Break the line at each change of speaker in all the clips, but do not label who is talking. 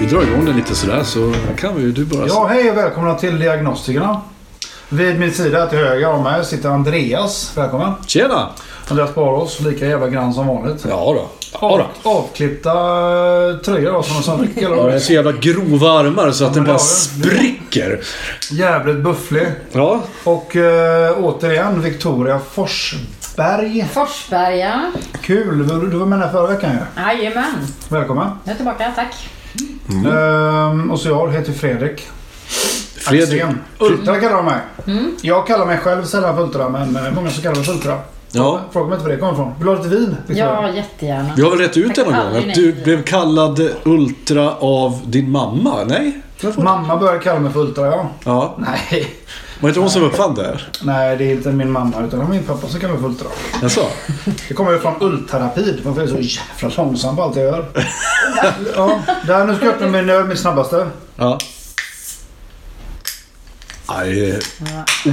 Vi drar igång den lite sådär så kan vi ju du bara...
Ja, hej och välkomna till Diagnostikerna. Vid min sida till höger om mig sitter Andreas. Välkommen.
Tjena!
Andreas Barås, lika jävla grann som vanligt.
Ja då.
Av,
Ja, då.
avklippta eh, tröjor då, som de sa. Vilka
Ja,
jävla-
den är så jävla grova armar så att den
men
bara
det har den.
spricker.
Jävligt bufflig.
Ja,
Och eh, återigen Victoria Forsberg.
Forsberga.
Kul, du, du var med där förra veckan ju.
Jajamän.
Välkommen.
Nu är jag tillbaka, tack.
Mm.
Ehm, och så jag heter Fredrik.
Fredrik. Mm.
Axén. Ultra kallar de mig. Jag kallar mig själv sällan för Ultra, men eh, många som kallar mig för Ultra.
Ja.
Fråga mig inte var det kommer ifrån. Vill du ha lite vin? Victoria?
Ja, jättegärna.
Vi har väl rätt ut det någon
Tack,
gång?
aldrig
Att du
nej.
blev kallad Ultra av din mamma? Nej? Varför?
Mamma började kalla mig för Ultra, ja.
Ja.
Nej.
Var det inte hon som uppfann det?
Nej, det är inte min mamma utan det är min pappa som kallar mig för Ultra.
Jaså?
Det kommer ju från ultrarapid. Varför är jag så jävla långsam på allt jag gör? ja, där, nu ska jag öppna min öl, min snabbaste.
Ja. Ja, det är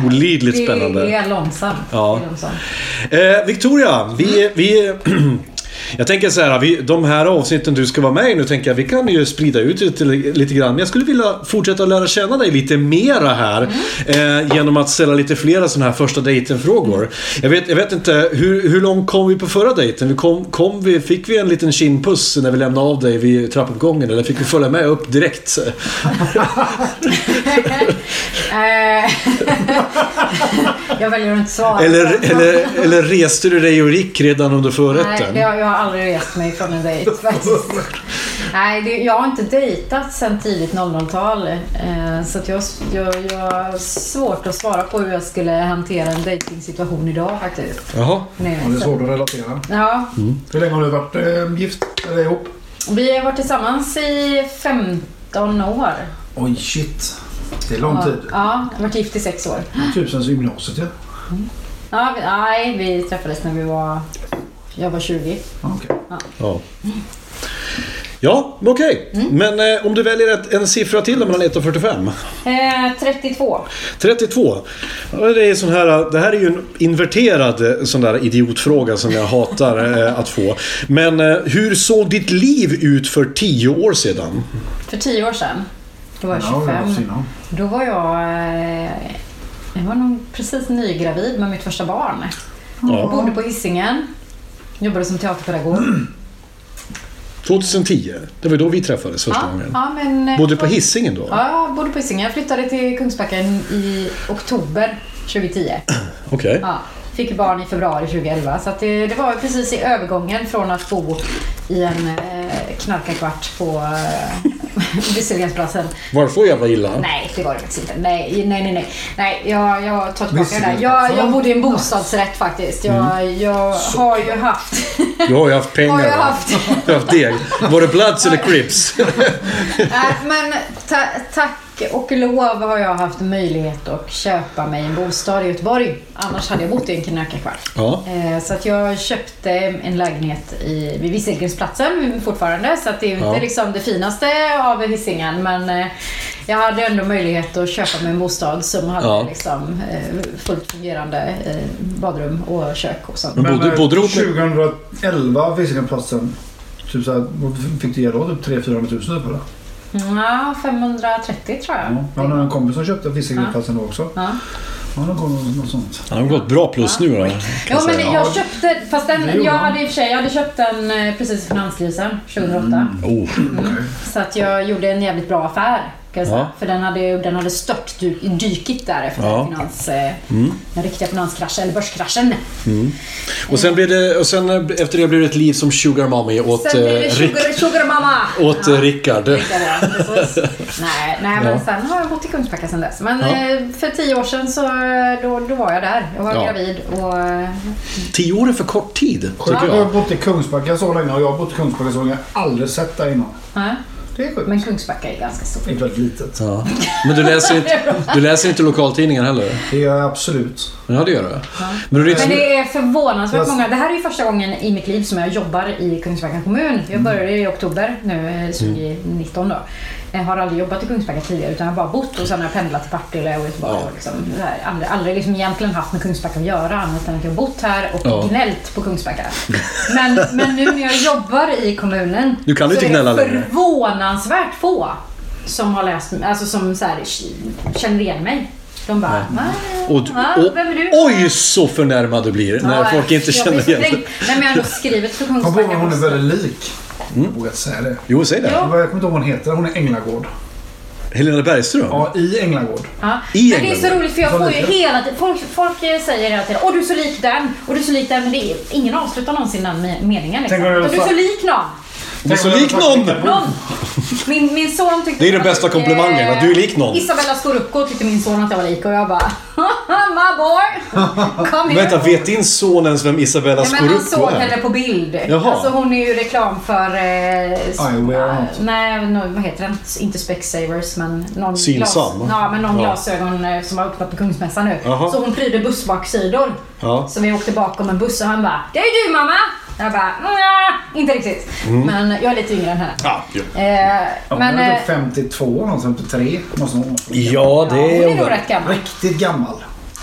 olidligt spännande.
Det är långsamt.
Ja.
Det är långsamt.
Eh, Victoria, vi...
Mm.
vi jag tänker så här, vi, de här avsnitten du ska vara med i nu tänker jag vi kan ju sprida ut det till- lite grann. Men jag skulle vilja fortsätta lära känna dig lite mera här.
Mm.
Eh, genom att ställa lite flera sådana här första dejten-frågor. Jag vet, jag vet inte, hur, hur långt kom vi på förra dejten? Vi kom, kom vi, fick vi en liten kindpuss när vi lämnade av dig vid trappuppgången? Eller fick vi följa med upp direkt?
Eh, jag väljer att inte svara.
Eller, eller, eller reste du dig och gick redan under förrätten?
Nej, jag, jag har aldrig rest mig från en dejt faktiskt. Nej, det, jag har inte dejtat sedan tidigt 00-tal. Eh, så att jag, jag, jag har svårt att svara på hur jag skulle hantera en dejtingsituation idag faktiskt.
Jaha.
Nej,
Ja, det är
så-
svårt att relatera.
Ja,
Hur länge har du varit eh, gift? Eller ihop?
vi har varit tillsammans i 15 år.
Oj, shit. Det är lång tid.
Ja, jag har varit gift i sex år.
Typ sen gymnasiet ju.
Ja, vi, nej, vi träffades när vi var... Jag var 20.
Ja. okej.
Ja. Ja, men okej.
Mm.
Men eh, om du väljer ett, en siffra till då mellan 1 och 45.
Eh, 32.
32. Ja, Det, är sån här, det här är ju en inverterad eh, sån där idiotfråga som jag hatar eh, att få. Men eh, hur såg ditt liv ut för 10 år sedan?
För 10 år sedan. Då var jag
Ja, det har vi haft
25.
innan.
Då var jag... Eh, jag var nog precis nygravid med mitt första barn. Jag
Ja,
bodde på Hisingen. Jobbade som teaterpedagog.
Mm,
2010. Det var ju då vi träffades första
Ja,
gången.
ja, men, eh,
Bodde på Hisingen då?
Ja, jag bodde på Hisingen. Jag flyttade till Kungsbacka i oktober 2010.
Okej.
Ja, fick barn i februari 2011. Så att det, det var ju precis i övergången från att bo i en eh, knarkarkvart på eh, Visselgrensbrassan.
Var det så jävla illa?
Nej, det var det faktiskt inte. Nej, nej, nej. Nej, nej jag, jag tar tillbaka det där. Jag,
Visselgrensbrassan?
jag bodde i en bostadsrätt faktiskt. Jag, jag har ju haft...
Du har ju haft pengar.
har ju
va?
haft...
Du har haft deg. Var det Bloods eller Crips?
Nej, men ta, tack och lov har jag haft möjlighet att köpa mig en bostad i Göteborg. Annars hade jag bott i en knarkarkvart.
Ja.
Eh, Så att jag köpte en lägenhet i, vid Visselgrensplatsen fortfarande. Så att det är inte
Ja.
liksom det finaste av Hisingen. Men eh, jag hade ändå möjlighet att köpa mig en bostad som hade
Ja.
liksom, eh, fullt fungerande eh, badrum och kök och sånt.
Men bodde-
eh,
bodde du ihop
2011 Visingenplatsen. Typ såhär, vad fick du ge då? Typ 300-400 000 typ eller?
Mm.
Ja, 530 tror jag.
Ja. eh, Jag har en kompis som köpte Visingenplatsen då också.
Ja.
Ja, det kom något, något sånt.
Han har gått bra plus nu då. kan
Ja,
jag säga.
men jag köpte, fast
Det
den,
gjorde
jag
han.
hade i och för sig, jag hade köpt den
Mm.
eh, precis i finanskrisen 2008.
Oh.
Så att jag gjorde en jävligt bra affär Kan jag säga.
Ja.
För den hade, den hade stört dykigt där efter
Ja. Mm.
finans, eh, den riktiga finanskraschen, eller börskraschen.
Och sen, blev det, och sen eh, efter det blev det ett liv som Sugar Mommy åt,
Sen blev det
eh, Rick,
sugar, sugar mamma!
åt eh, Rickard.
Ja, precis. nej, nej, men
Ja.
sen har jag bott i Kungsbacka sen dess. Men
Ja.
eh, för tio år sedan så eh, då, då var jag där. Jag var
Ja.
gravid och eh,
Tio år är för kort tid, tycker
Jag har
jag.
bott i Kungsbacka så länge och jag har bott i Kungsbacka så länge. Jag har aldrig sett det innan.
nej.
Det är sjukt.
Men Kungsbacka är ganska stort.
Det är väldigt litet.
Ja. Men du läser, inte, du läser inte lokaltidningar heller?
Det gör jag absolut.
Ja, det gör du. Men du är liksom-
Men
inte...
det är förvånansvärt
Fast-
många. Det här är ju första gången i mitt liv som jag jobbar i Kungsbacka kommun.
Mm.
Jag började i oktober nu eh, 2019 då. Jag har aldrig jobbat i Kungsbacka tidigare utan jag har bara bott och sen har jag pendlat till Partille och Göteborg.
Ja.
och Liksom, det här. aldrig aldrig liksom egentligen haft med Kungsbacka att göra annat än att jag har bott här och
Ja.
gnällt på Kungsbacka. Men, men nu när jag jobbar i kommunen
Nu kan du
så
inte
är det
gnälla längre.
förvånansvärt få som har läst, alltså som så här, känner igen mig. De bara, "Nej,
Och,
ja,
och,
vem är du?
oj, så förnärmad du blir när
Ja,
folk inte
jag blir
känner
så
igen
trängd.
dig.
Nej men jag har ändå skrivit för
Kom på vad
Kungsbacka
hon är
Posten.
väldigt lik. Jag
Mm.
vågar inte säga det.
Jo, säg det.
Ja.
Jag kommer inte ihåg vad hon heter. Hon är Änglagård.
Helena Bergström.
Ja, i Änglagård.
Ja.
I
Men det är så
England.
roligt för jag
Vad
får ju
lite.
hela tiden, folk, folk säger hela tiden Åh du är så lik den, och du är så lik den, men det är, ingen avslutar någonsin den me- meningen liksom.
Tänk om det var
Och du är
så-
så lik någon.
Du är så lik någon!
någon. Min, min son tyckte...
Det är den bästa komplimangen, att du är lik någon.
eh, Isabella Scorupco tyckte min son att jag var lik och jag bara My boy! Come here!
Vänta, vet din son ens vem Isabella
Nej, men han
Scorupco
såg henne
är?
på bild.
Jaha.
Alltså hon är ju reklam för... Eh, s-
Eyewear och något.
nej, no, vad heter den? Inte Specsavers men någon
Synsam.
Glas, ja, men någon
Ja.
glasögon eh, som har öppnat på Kungsmässan nu.
Jaha.
Så hon prydde bussbaksidor.
Ja.
Så vi åkte bakom en buss och han bara Det är du mamma! Jag bara "Nja, inte riktigt.
Mm.
Men jag är lite yngre än henne.
Ja, ja.
Eh,
Ja,
men,
hon
eh,
är typ 52, någon 53. Någon sån.
ja,
ja,
det
hon är
är
nog
hon. eh,
rätt gammal.
Riktigt gammal.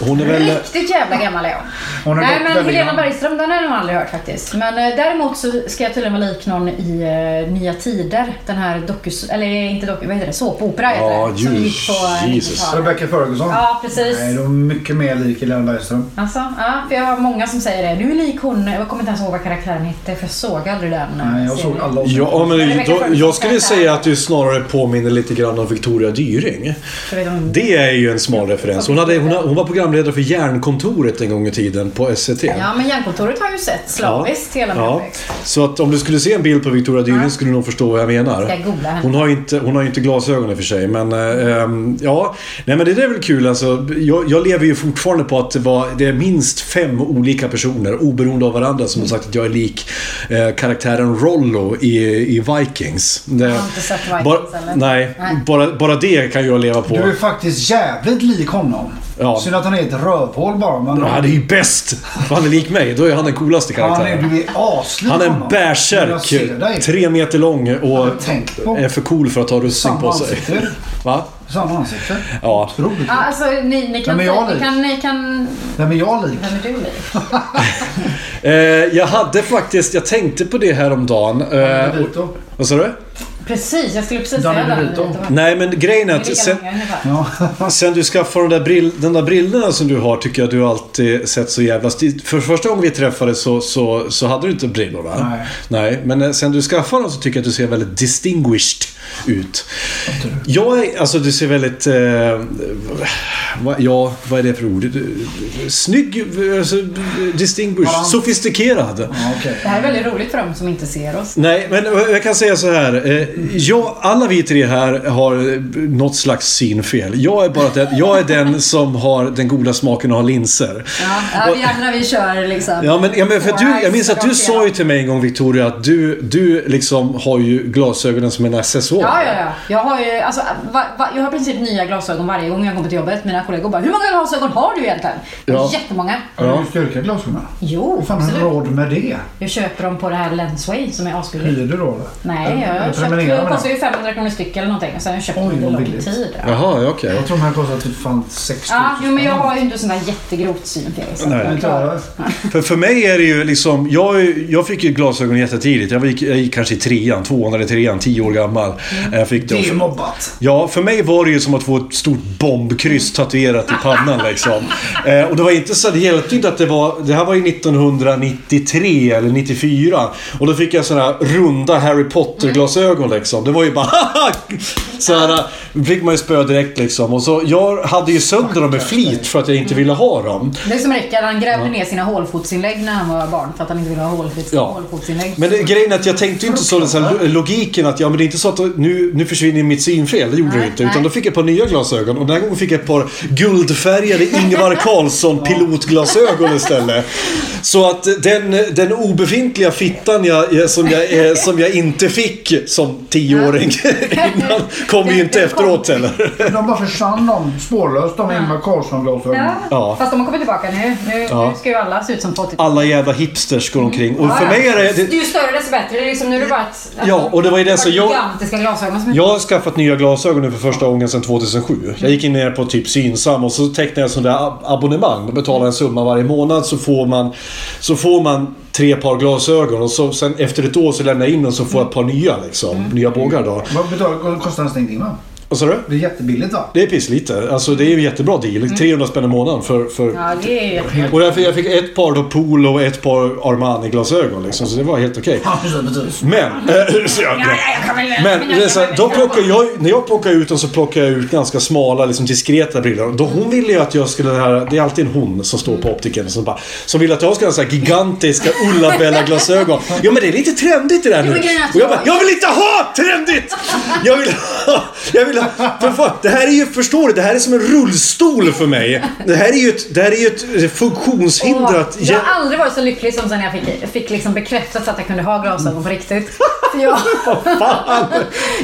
Hon är väl...
Riktigt jävla gammal är hon.
Hon har
Nej
gått
men
väldigt
Helena
långt.
Bergström den har jag nog aldrig hört faktiskt. Men eh, däremot så ska jag tydligen vara lik någon i eh, Nya Tider. Den här dokus... Eller inte doku... Vad heter det? Såpopera heter
Ja,
det. Som
ju-
gick på eh,
Jesus.
90-talet.
Rebecca Ferguson.
Ja precis.
Nej, de är mycket mer lik Helena Bergström.
Alltså, ja, för jag har många som säger det. Du är lik hon. Jag kommer inte ens ihåg vad karaktären hette för jag såg aldrig den. eh,
Nej, jag såg
serien.
alla avsnitt.
Ja, men
Rebecca
då,
Ferguson
jag skulle
karaktär.
säga att du snarare påminner lite grann om Victoria Dyring.
Jag vet inte.
Det är ju en smal referens. Hon, hade, hon, hon var programledare för Järnkontoret en gång i tiden på E SCT.
Ja men Hjärnkontoret har jag ju sett slaviskt hela min
Ja.
uppväxt.
Så att om du skulle se en bild på Victoria Dyring skulle du nog förstå vad jag menar.
Ska jag googla henne?
Hon har ju inte, hon har ju inte glasögon i och för sig. Men eh, ehm, ja, Nej, men det där är väl kul. Alltså, jag, jag lever ju fortfarande på att det, var, det är minst fem olika personer oberoende av varandra som har sagt att jag är lik eh, karaktären Rollo i, i Vikings. Det,
har inte sett Vikings,
bara,
eller?
Nej,
Nej.
Bara, bara det kan jag leva på.
Du är faktiskt jävligt lik honom.
Ja.
Synd att han är ett rövhål bara. Men
Ja, Han är ju bäst! Om Han är lik mig, då är han den coolaste
Ja, han
karaktären.
är, du är aslik
Han är en
honom. Jag ser dig.
bärsärk, tre meter lång och
har tänkt på.
är för cool för att ha rustning på
Samma
sig.
ansikte.
Va?
Samma ansikte.
Ja.
Otroligt.
Ja, alltså ni, ni kan...
men jag är
ni
lik.
kan, ni kan...
Vem är jag lik?
Vem är du lik?
Eh, jag hade faktiskt, jag tänkte på det här om dagen. Eh, och-
DeVito.
vad sa du?
Precis, jag skulle precis
Danny
säga Danny
DeVito.
DeVito.
Nej men grejen är
Det är
att
lika
sen,
många ungefär.
Ja.
sen du skaffade de där, brill, den där brillorna som du har tycker jag du alltid sett så jävla stil. För första gången vi träffades så, så, så hade du inte brillor va?
Nej.
Nej. Men eh, sen du skaffade dem så tycker jag att du ser väldigt distinguished ut. Jag är, alltså du ser väldigt... Eh, va, ja, vad är det för ord? Snygg, alltså, distinguished,
Balans.
sofistikerad.
Ja, okej.
Det här är väldigt roligt för dem som inte ser oss.
Nej, men jag kan säga så här. Eh, Jag, alla vi tre här har eh, något slags synfel. Jag är bara den, jag är den som har den goda smaken och har linser.
Ja, ja, vi andra vi kör liksom.
Ja, men, ja, men för du, jag minns att du
Rakt
sa ju till mig en gång Victoria att du, du liksom har ju glasögonen som en accessoar.
Ja, ja, ja. Jag har ju alltså, va, va, jag har i princip nya glasögon varje gång jag kommer till jobbet. Mina kollegor bara, hur många glasögon har du egentligen?
Ja.
Jättemånga.
Har du styrkeglasögon?
Jo,
Hur fan har du
absolut.
råd med det?
Jag köper dem på det här Lensway som är asbilligt.
Hyr du då eller?
Nej, jag har
Eller
köpt,
prenumererar
de
med
kostar
den?
ju 500 kronor styck eller någonting. Och sen har jag köpt
Oj,
dem under
vad
lång
billigt.
tid. Ja,
Jaha, ja, okej.
Jag tror de här kostar typ fan 6 000
ja jo, men jag har ju inte sån där jättegrovt synfel. så att
Nej.
jag
Inte
klarar-
jag
För, för mig är det ju liksom... Jag, är- jag fick ju glasögon jättetidigt. Jag gick, jag gick kanske i trean, tvåan eller trean, tio år gammal.
Mm.
Jag fick det
Det är ju
också.
mobbat.
Ja, för mig var det ju som att få ett stort bombkryss tatuerat i pannan liksom. Eh, och det var inte så, det hjälpte inte att det var, det här var ju 1993 eller 94. Och då fick jag sådana här runda Harry Potter-glasögon liksom. Det var ju bara så här, eh, fick man ju spö direkt liksom. Och så, jag hade ju sönder dem med flit för att jag inte ville ha dem.
Det är som Rickard, han grävde ner sina hålfotsinlägg när han var barn för att han inte ville ha hålfots,
Ja.
hålfotsinlägg.
Men det, grejen är att jag tänkte ju inte så, så här, logiken att ja, men det är inte så att nu, nu försvinner mitt synfel. Det gjorde det
Nej,
inte. Utan
nej.
då fick jag ett par nya glasögon och den här gången fick jag ett par guldfärgade Ingvar Carlsson pilotglasögon istället. Så att den, den obefintliga fittan jag, jag- som, jag, eh, som jag inte fick som tioåring innan kom ju inte
Den kom.
efteråt heller.
De bara försvann de spårlöst, de Ingvar Carlsson-glasögonen.
ja.
Ja.
Fast de har kommit tillbaka nu. Nu,
Ja.
nu ska ju alla se ut som 80
Alla jävla hipsters går omkring. Och för
Ja,
mig
ja.
är det... det
Ju större desto bättre. Det är liksom nu är det bara ett, Alltså,
Ja, och det var ju det som jag-
Gigantiska glasögon som
Jag har skaffat nya glasögon nu för första gången sedan 2007. Jag gick in ner på typ Synsam och så tecknade jag sån där ab- abonnemang. Då betalar jag en summa varje månad så får man, så får man tre par glasögon och så, sen efter ett år så lämnar jag in dem så får jag ett par nya liksom. Nya bågar då.
Vad betal- kostar nästan ingenting va?
Vad sa du?
Det är jättebilligt va?
Det är pisslite. Alltså det är ju en jättebra deal. 300 spänn i månaden för... för...
Ja, det är jättebra.
Och jag fick, jag fick ett par då Polo och ett par Armani-glasögon liksom. Så det var helt okej.
Ja, precis, precis.
Men... eh, så jag- Men det är så här, då plockar jag, när jag plockar ut dem så plockar jag ut ganska smala, liksom diskreta brillor. Då hon ville ju att jag skulle... Det, här, det är alltid en hon som står på optiken som, bara, som vill att jag ska ha så här gigantiska Ulla-Bella-glasögon. Ja men det är lite trendigt det där nu.
men grejen är att
Och jag bara,
jag-
jag vill inte ha trendigt! Jag vill ha... Jag vill ha för fan, det här är ju, förstår du, det här är som en rullstol för mig. Det här är ju ett, det här är ju ett eh, funktionshindrat...
Åh, jag har aldrig varit så lycklig som sen när jag fick, fick liksom bekräftat att jag kunde ha glasögon på riktigt. För Jag,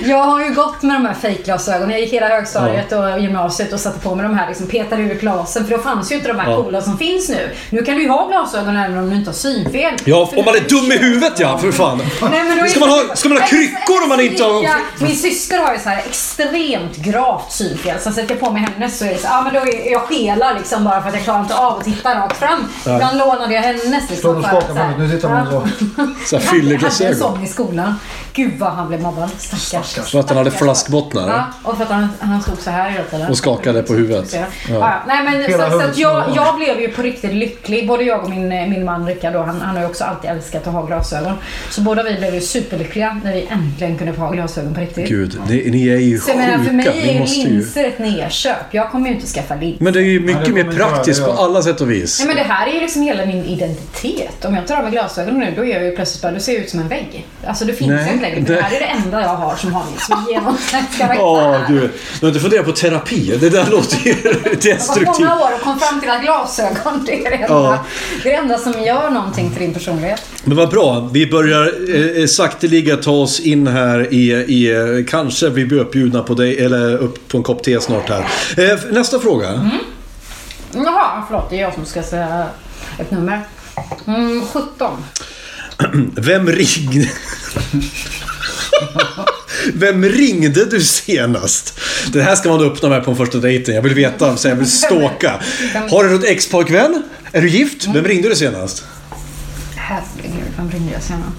jag har ju gått med de här fejkglasögonen. Jag gick hela högstadiet och gymnasiet och satte på mig de här liksom petade ur glasen för då fanns ju inte de här
Ja.
coola som finns nu. Nu kan du ju ha glasögon även om du inte har synfel.
Ja,
För
om
nu
man är
kan du
dum i
köpa-
huvudet ja, för fan.
Nej, men då är
Ska man
det-
ha- ska man ha kryckor om man inte har-
Ja, Min syster har ju så här extremt gravt synfel. Så sätter jag på mig hennes så är det så ja men då är jag skelar liksom bara för att jag klarar inte av att titta rakt fram. Ibland lånade jag hennes liksom.
Står och
för att
skakar
så
på
här-
huvudet. Nu tittar
Ja.
man så.
Så här
Jag hade en
fylleglasögon.
sån i skolan. Gud vad han blev mobbad. Stackars.
Stackars.
För att han hade
Stackars.
flaskbottnar.
Ja, och för att han, han stod så här hela tiden.
Och skakade på huvudet.
Ja.
Ja.
Ja, nej, men,
Hela
så, så att jag,
huvudet.
jag blev ju på riktigt lycklig. Både jag och min, min man Rickard, då, han, han har ju också alltid älskat att ha glasögon. Så båda vi blev ju superlyckliga när vi äntligen kunde få ha glasögon på riktigt.
Gud, ni, ni är ju
Så jag menar, för mig
sjuka. Ni
är
måste
ju
ju...
linser ett nerköp. Jag kommer ju inte skaffa linser.
Men det är ju
Ja,
mycket
det
mer
kommer inte
praktiskt på
vara det, ja.
alla sätt och vis.
Nej, men det här är ju liksom hela min identitet. Om jag tar av mig glasögonen nu, då är jag ju plötsligt bara, då ser jag ut som en vägg. Alltså det finns
Nej,
inte längre.
det-
Det här är det enda jag har som har min som är genomsnittliga väggar.
Åh gud. Du har inte funderat på terapi? Det där låter ju
Jag var
destruktivt.
många år och kom fram till att glasögon, det är det enda,
Ja.
det är det enda som gör någonting till din personlighet.
Men vad bra. Vi börjar eh, sakteliga ta oss in här i, i... eh, Kanske vi blir uppbjudna på dig, eller upp på en kopp te snart här. Eh, nästa fråga.
Mm. Jaha, förlåt, det är jag som ska säga ett nummer. Mm, 17.
Vem ringde... Vem ringde du senast? Det här ska man öppna med på en första dejten. Jag vill veta, så jag vill stalka. Har du något ex-pojkvän? Är du gift? Vem ringde du senast?
Herregud, vem ringde jag senare?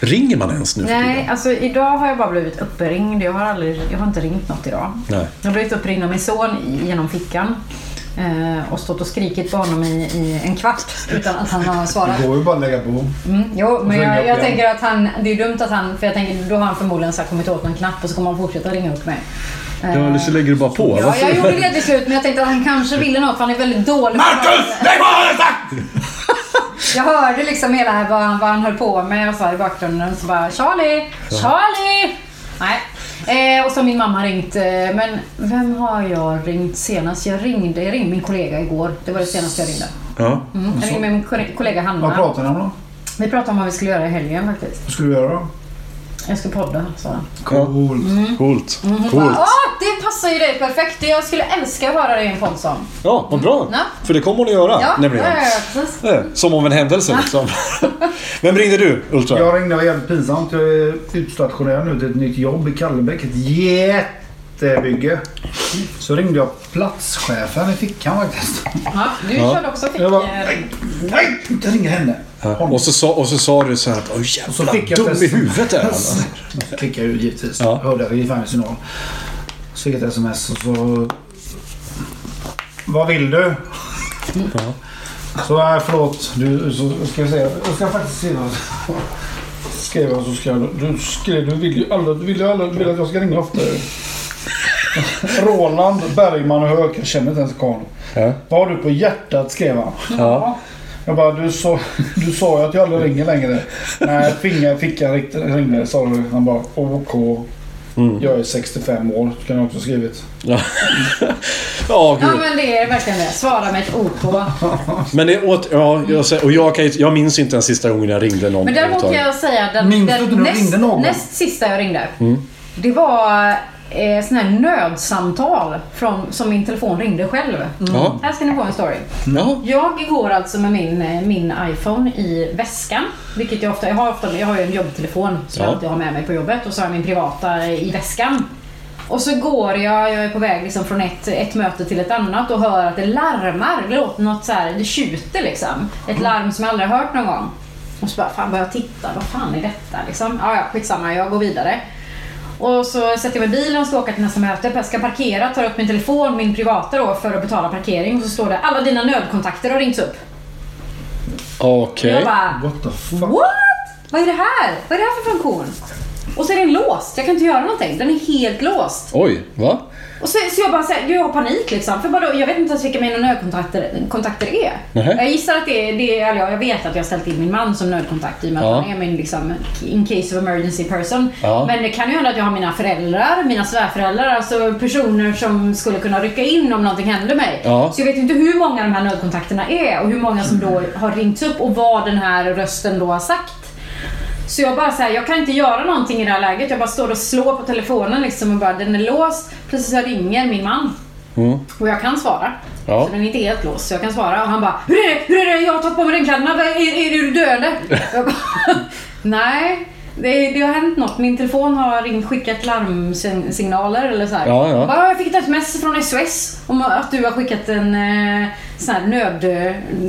Ringer man ens nu för
Nej,
tiden?
alltså idag har jag bara blivit uppringd. Jag har, aldrig, jag har inte ringt något idag.
Nej.
Jag har blivit uppringd av min son i- genom fickan. Eh, och stått och skrikit på honom i, i en kvart utan att han har svarat.
Det går ju bara att lägga på.
Mm, jo, men
ringa upp
jag,
igen.
jag tänker att han, det är dumt att han, för jag tänker då har han förmodligen så här kommit åt någon knapp och så kommer han fortsätta ringa upp mig. Eh,
Ja, eller så lägger du bara på.
Ja,
Varför?
jag gjorde det till slut men jag tänkte att han kanske ville något för han är väldigt dålig på-
lägg på!
Jag hörde liksom hela här vad, han- vad han höll på med och så här i bakgrunden så bara Charlie, Charlie! Nej. Eh, och så har min mamma ringt. eh, Men vem har jag ringt senast? Jag ringde, jag ringde min kollega igår. Det var det senaste jag ringde.
Ja.
Mm. Jag ringde min kor- kollega
Vad
Hanna.
pratar ni om då?
Vi pratade om vad vi skulle göra i helgen faktiskt.
Vad ska du göra då?
Jag ska podda, sa han.
Coolt.
Mm. Coolt.
Bara,
Coolt.
Åh, det passar ju dig perfekt. Jag skulle älska att höra dig i en podd som.
Ja, vad bra.
Ja.
För det kommer hon att göra.
Ja, ja,
Nämligen.
ja, ja, precis.
Eh, Som om en händelse liksom. Vem ringde du, Ultra?
Jag ringde, det var jävligt pinsamt. Jag är utstationerad nu till ett nytt jobb i Kallebäck. Ett jätte sittbygge. Så ringde jag platschefen i fickan faktiskt.
Ja, du
Ja.
körde också fick...
Jag bara,
eh,
nej, nej, inte ringa henne.
Ja. Och, så sa, och så sa du så här att Åh,
Så
jävla
fick jag
dum
ett
i
sms.
huvudet är han. alltså.
Så klickade jag ju givetvis.
Ja.
Hörde jag i signal. Så fick jag ett sms och så... Vad vill du? Så nej, förlåt. Du, så ska jag säga. Jag ska faktiskt skriva. Skrev jag så ska jag. Du skrev. Du vill ju alla. Du vill ju alla. Du vill att jag ska ringa oftare. Roland Bergman och Höök. Jag känner inte ens karln.
Ja.
Vad har du på hjärtat? skrev han.
Ja.
Jag bara, du sa, du sa ju att jag aldrig ringer längre. Nej, finger, fickan rikt- ringde sa du. Han bara, OK.
Mm.
Jag är 65 år, skulle han också skrivit.
Ja, ja
Ja
gud.
men det är verkligen det. Svara med ett OK.
Men det, åt, ja, jag, sä- och jag, kan, ju- jag minns inte den sista gången jag ringde någon.
Men däremot kan
överhuvudtaget.
jag säga den,
Minns du
den
inte när du
näst,
ringde någon? Mm.
näst sista jag ringde. Det var eh, sån här nödsamtal från, som min telefon ringde själv.
Mm.
Ja.
Här ska ni få en story.
Ja.
Jag går alltså med min, eh, min iPhone i väskan. Vilket jag ofta, jag har ofta, jag har ju en jobbtelefon som
Ja.
jag alltid har med mig på jobbet och så har jag min privata eh, i väskan. Och så går jag, jag är på väg liksom från ett, ett möte till ett annat och hör att det larmar. Det låter något så här, det tjuter liksom. Ett larm som jag aldrig har hört någon gång. Och så bara, fan börjar jag titta, vad fan är detta liksom? Ja, ja, skitsamma, jag går vidare. Och så sätter jag mig i bilen och ska åka till nästa möte. Jag ska parkera, tar upp min telefon, min privata då, för att betala parkering. Och så står det, alla dina nödkontakter har ringts upp.
Okej.
Jag bara,
What the fuck?
What? Vad är det här? Vad är det här för funktion? Och så är den låst. Jag kan inte göra någonting. Den är helt låst.
Oj, va?
Och så, så jag bara säger, jag har panik liksom. För bara, jag vet inte ens vilka mina nödkontakter kontakter är.
Nähä.
Jag gissar att det är, det är, eller ja, jag vet att jag har ställt in min man som nödkontakt i och med
Ja.
att han är min liksom, in case of emergency person.
Ja.
Men det kan ju hända att jag har mina föräldrar, mina svärföräldrar, alltså personer som skulle kunna rycka in om någonting händer mig.
Ja.
Så jag vet inte hur många de här nödkontakterna är och hur många som då har ringts upp och vad den här rösten då har sagt. Så jag bara så här, jag kan inte göra någonting i det här läget. Jag bara står och slår på telefonen liksom och bara, den är låst. Precis jag ringer min man.
Mm.
Och jag kan svara.
Ja.
Så den är inte helt låst, så jag kan svara. Och han bara, hur är det? Hur är det? Jag har tagit på mig regnkläderna. Vad Är, är, är du död? jag bara, nej. Det, det har hänt något. Min telefon har ringt, skickat larmsignaler eller så här.
Ja, ja.
Jag Bara, jag fick ett sms från SOS om att du har skickat en, eh, sån här nöd,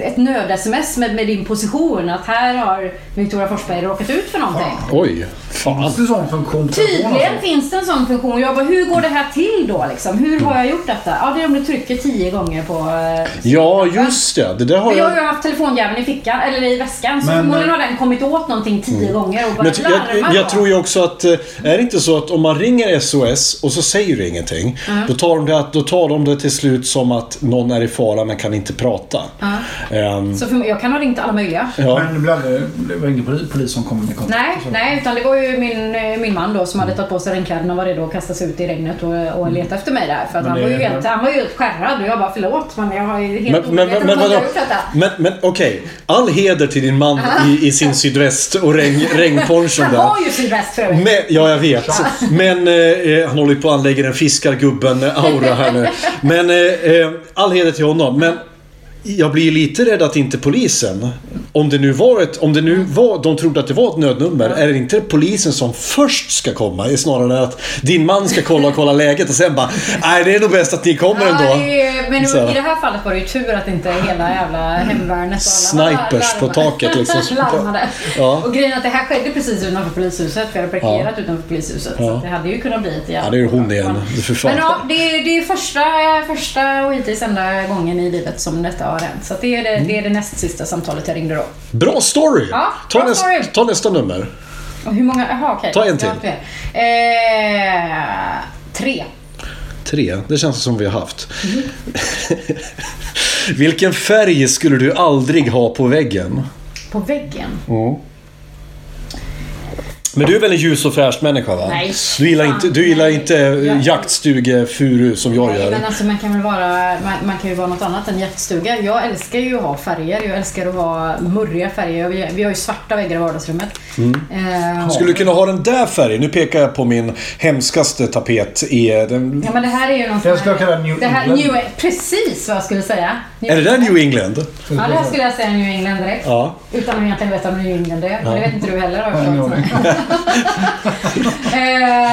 ett nöd-sms med, med din position. Att här har Victoria Forsberg råkat ut för någonting.
Oj. Fan.
Finns det sån funktion på telefonen
Tydligen
alltså?
finns det en sån funktion. Jag bara, hur går det här till då? Liksom? Hur har jag gjort detta? Ja, det är om du trycker tio gånger på... eh,
Ja, just det. Det där har
Men jag har
jag...
ju haft telefonjäveln i fickan, eller i väskan, så
Men-
förmodligen har den kommit åt någonting tio gånger och bara
eh, mm. Men jag, jag,
larmat
jag
då.
tror ju också att... eh, Är det inte så att om man ringer SOS och så säger du ingenting.
Mm.
Då, tar de det, då tar de det till slut som att någon är i fara men kan inte prata.
Mm.
Ehm,
Så för, jag kan ha ringt alla möjliga.
ja.
Men det blir aldrig, det var ingen poli- polis som kom med kontakt.
Nej,
Alltså-
nej, utan det var ju min, eh, min man då som
Mm.
hade tagit på sig regnkläderna och var redo att kasta sig ut i regnet och, och leta efter mig där. För att
Men
han,
det-
var ju helt, han var ju helt skärrad och jag bara förlåt men jag har ju helt
Men, men, men,
omedveten
men,
om att jag har
vadå?
gjort detta.
men, men okej. All heder till din man i, i sin sydväst och regn, regnponchon
Han
där.
har ju sin väst för övrigt.
Men, ja, jag vet. Men eh, han håller ju på att anlägga den fiskargubben-aura här nu. Men eh, eh, all heder till honom. Men jag blir ju lite rädd att inte polisen, om det nu var ett, om det nu var, de trodde att det var ett nödnummer, är det inte polisen som först ska komma? Det är Snarare än att din man ska kolla och kolla läget och sen bara, nej det är nog bäst att ni kommer
Ja,
ändå.
det är, men
Så.
i det här fallet var det ju tur att inte hela jävla hemvärnet och alla
Snipers på
larmade.
taket, liksom.
larmade.
Ja.
Och grejen är att det här skedde precis utanför polishuset för jag hade parkerat utanför polishuset. Så
Ja.
att det hade ju kunnat bli ett jävla...
Ja, det är ju hon igen. För fan.
Men ja, det är, det är första, första och hittills enda gången i livet som detta har hänt. Så att det är det, det är det näst sista samtalet jag ringde då.
Bra story!
Ja,
ta,
bra
näst,
story.
ta nästa nummer.
Och hur många? Jaha, okej.
Ta en till.
Jag har fler. Eh, tre.
Tre, det känns som vi har haft.
Mm-hmm.
Vilken färg skulle du aldrig ha på väggen?
På väggen.
Men du är väl en ljus och fräsch människa? Va?
Nej.
Du gillar inte, du gillar
Nej.
inte eh,
Jag-
jaktstugefuru som jag
Nej, men
gör?
alltså man kan väl vara, man, man kan ju vara något annat än jaktstuga. Jag älskar ju att ha färger. Jag älskar att ha murriga färger. Jag- Vi har ju svarta väggar i vardagsrummet.
Mm.
Eh,
Skulle du kunna ha den där färgen? Nu pekar jag på min hemskaste tapet. I eh, den...
ja, men det här är ju någon
Jag
sån här-
skulle kalla det New
det här,
England.
New, precis vad jag skulle säga. New
Är det där New England?
Ja, det här skulle jag säga New England direkt.
Ja.
Utan att egentligen veta om New England är. Men det vet inte du heller har jag
Nej,
förstått. Eh,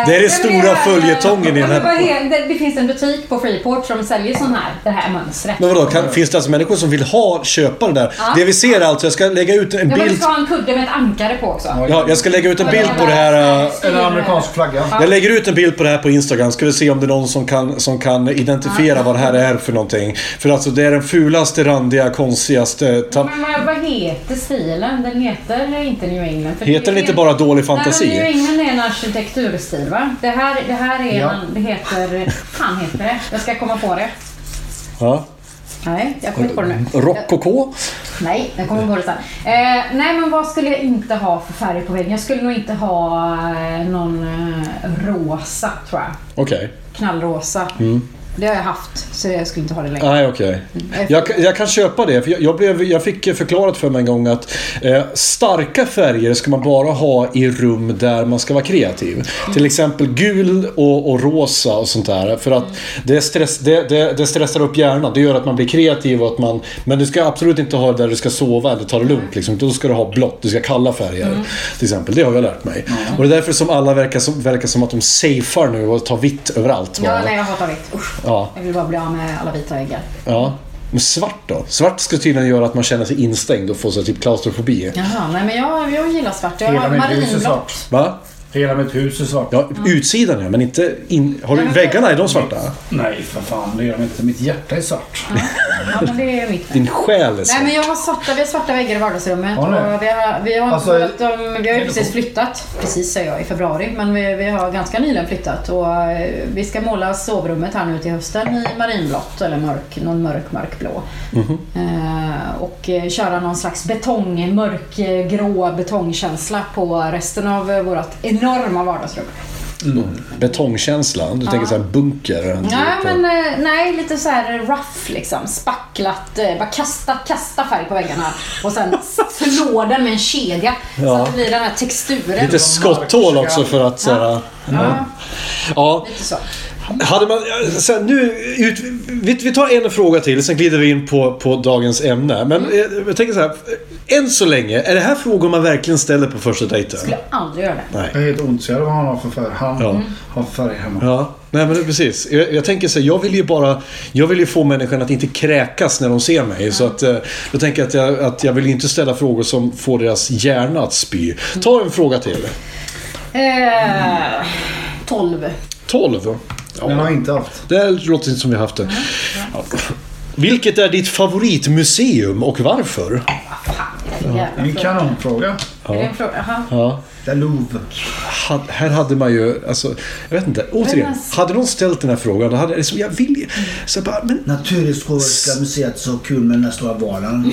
Det är det stora följetongen i den här-
Det, det finns en butik på Freeport som säljer sån här, det här mönstret.
Men vadå, kan, finns det alltså människor som vill ha, köpa det där?
Ja.
Det vi ser alltså, jag ska lägga ut en
Ja, men du
bild.
ska ha en kudde med ett ankare på också.
Ja, jag ska lägga ut en bild på det här. eh,
Eller amerikansk flagga.
Jag lägger ut en bild på det här på Instagram. Ska vi se om det är någon som kan, som kan identifiera vad det här är för någonting. För alltså det är den fulaste, randiga, konstigaste... Ta-
Men vad, vad heter stilen? Den heter inte New England. för
Heter
det
den
är-
inte bara dålig
Nej, men
fantasi?
New England är en arkitekturstil va? Det här, det här är
Ja.
en, det heter, fan heter det? Jag ska komma på det.
Ja.
Nej, jag kommer inte på det nu.
Rokoko?
Nej, jag kommer på det sen. Eh, nej, men vad skulle jag inte ha för färg på väggen? Jag skulle nog inte ha eh, någon eh, rosa, tror jag.
Okej.
Knallrosa.
Mm.
Det har jag haft, så jag skulle inte ha det längre.
Nej, okej. Jag, kan- jag kan köpa det. För jag, jag, blev, jag fick förklarat för mig en gång att eh, starka färger ska man bara ha i rum där man ska vara kreativ. Till exempel gul och, och rosa och sånt där. För att det, stress, det, det, det stressar upp hjärnan. Det gör att man blir kreativ. Och att man, men du ska absolut inte ha det där du ska sova eller ta det lugnt. Liksom. Då ska du ha blått. Du ska ha kalla färger.
Mm.
Till exempel. Det har jag lärt mig. Och det är därför som alla verkar som, verkar som att de safear nu och tar vitt överallt.
Ja,
bara.
nej, jag hatar vitt. Usch.
Ja.
Jag vill bara bli av med alla vita väggar.
Ja. Men svart då? Svart ska tydligen göra att man känner sig instängd och får så här typ klaustrofobi.
Jaha, nej, men jag, jag gillar svart. Jag
Hela
har
mitt hus är
marinblått.
svart.
Va?
Hela mitt hus är svart.
Ja, utsidan ja, men inte in... Har du
Ja, men-
väggarna? Är de svarta?
Nej, för fan. Det gör de inte. Mitt hjärta är svart.
Ja, men det är mitt.
Din själ är
Nej, men
svart.
jag har svarta, vi har svarta väggar i vardagsrummet.
Har ni?
och vi, har, vi, har,
Alltså,
börjat, um, vi har ju
är det
precis
så?
flyttat, precis säger jag, i februari. Men vi, vi har ganska nyligen flyttat och eh, vi ska måla sovrummet här nu till hösten i marinblått eller mörk, någon mörk, mörkblå.
Mhm.
Eh, och eh, köra någon slags betong, mörkgrå betongkänsla på resten av eh, vårt enorma vardagsrum.
Betongkänsla. Du tänker så här bunker.
Nej, men eh, nej, lite så här rough liksom. Spacklat, eh, bara kasta, kasta färg på väggarna och sen slå den med en kedja så
Ja.
att det blir den här texturen.
Lite skotthål också för att så här,
ja,
ja.
lite så.
Hade man, så här, nu, ut, vi, vi tar en fråga till, sen glider vi in på, på dagens ämne. Men
Mm.
eh, jag tänker så här, än så länge, är det här frågor man verkligen ställer på första dejten?
Jag skulle aldrig göra det.
Jag är helt ondsjärv vad han har för färg. Han
Ja.
har för färg hemma.
Ja, nej men precis. Jag, jag tänker så här, jag vill ju bara... Jag vill ju få människan att inte kräkas när de ser mig. Så att, eh, då tänker jag att, jag att jag vill ju inte ställa frågor som får deras hjärna att spy. Ta en fråga till.
Eh, 12.
12.
Den har
Ja,
jag inte haft.
det här låter inte som vi har haft det. Ja. Vilket är ditt favoritmuseum och varför?
Fan, vilken
Det är
jävla
en
fråga.
kanonfråga.
Är det en fråga? Jaha.
Ja.
Det är Louvre.
Ha- Här hade man ju, alltså, jag vet inte. Återigen,
alltså-
hade någon ställt den här frågan, då hade jag liksom, jag vill ju... Så jag bara, men
Naturhistoriska museet så kul med den där stora valen.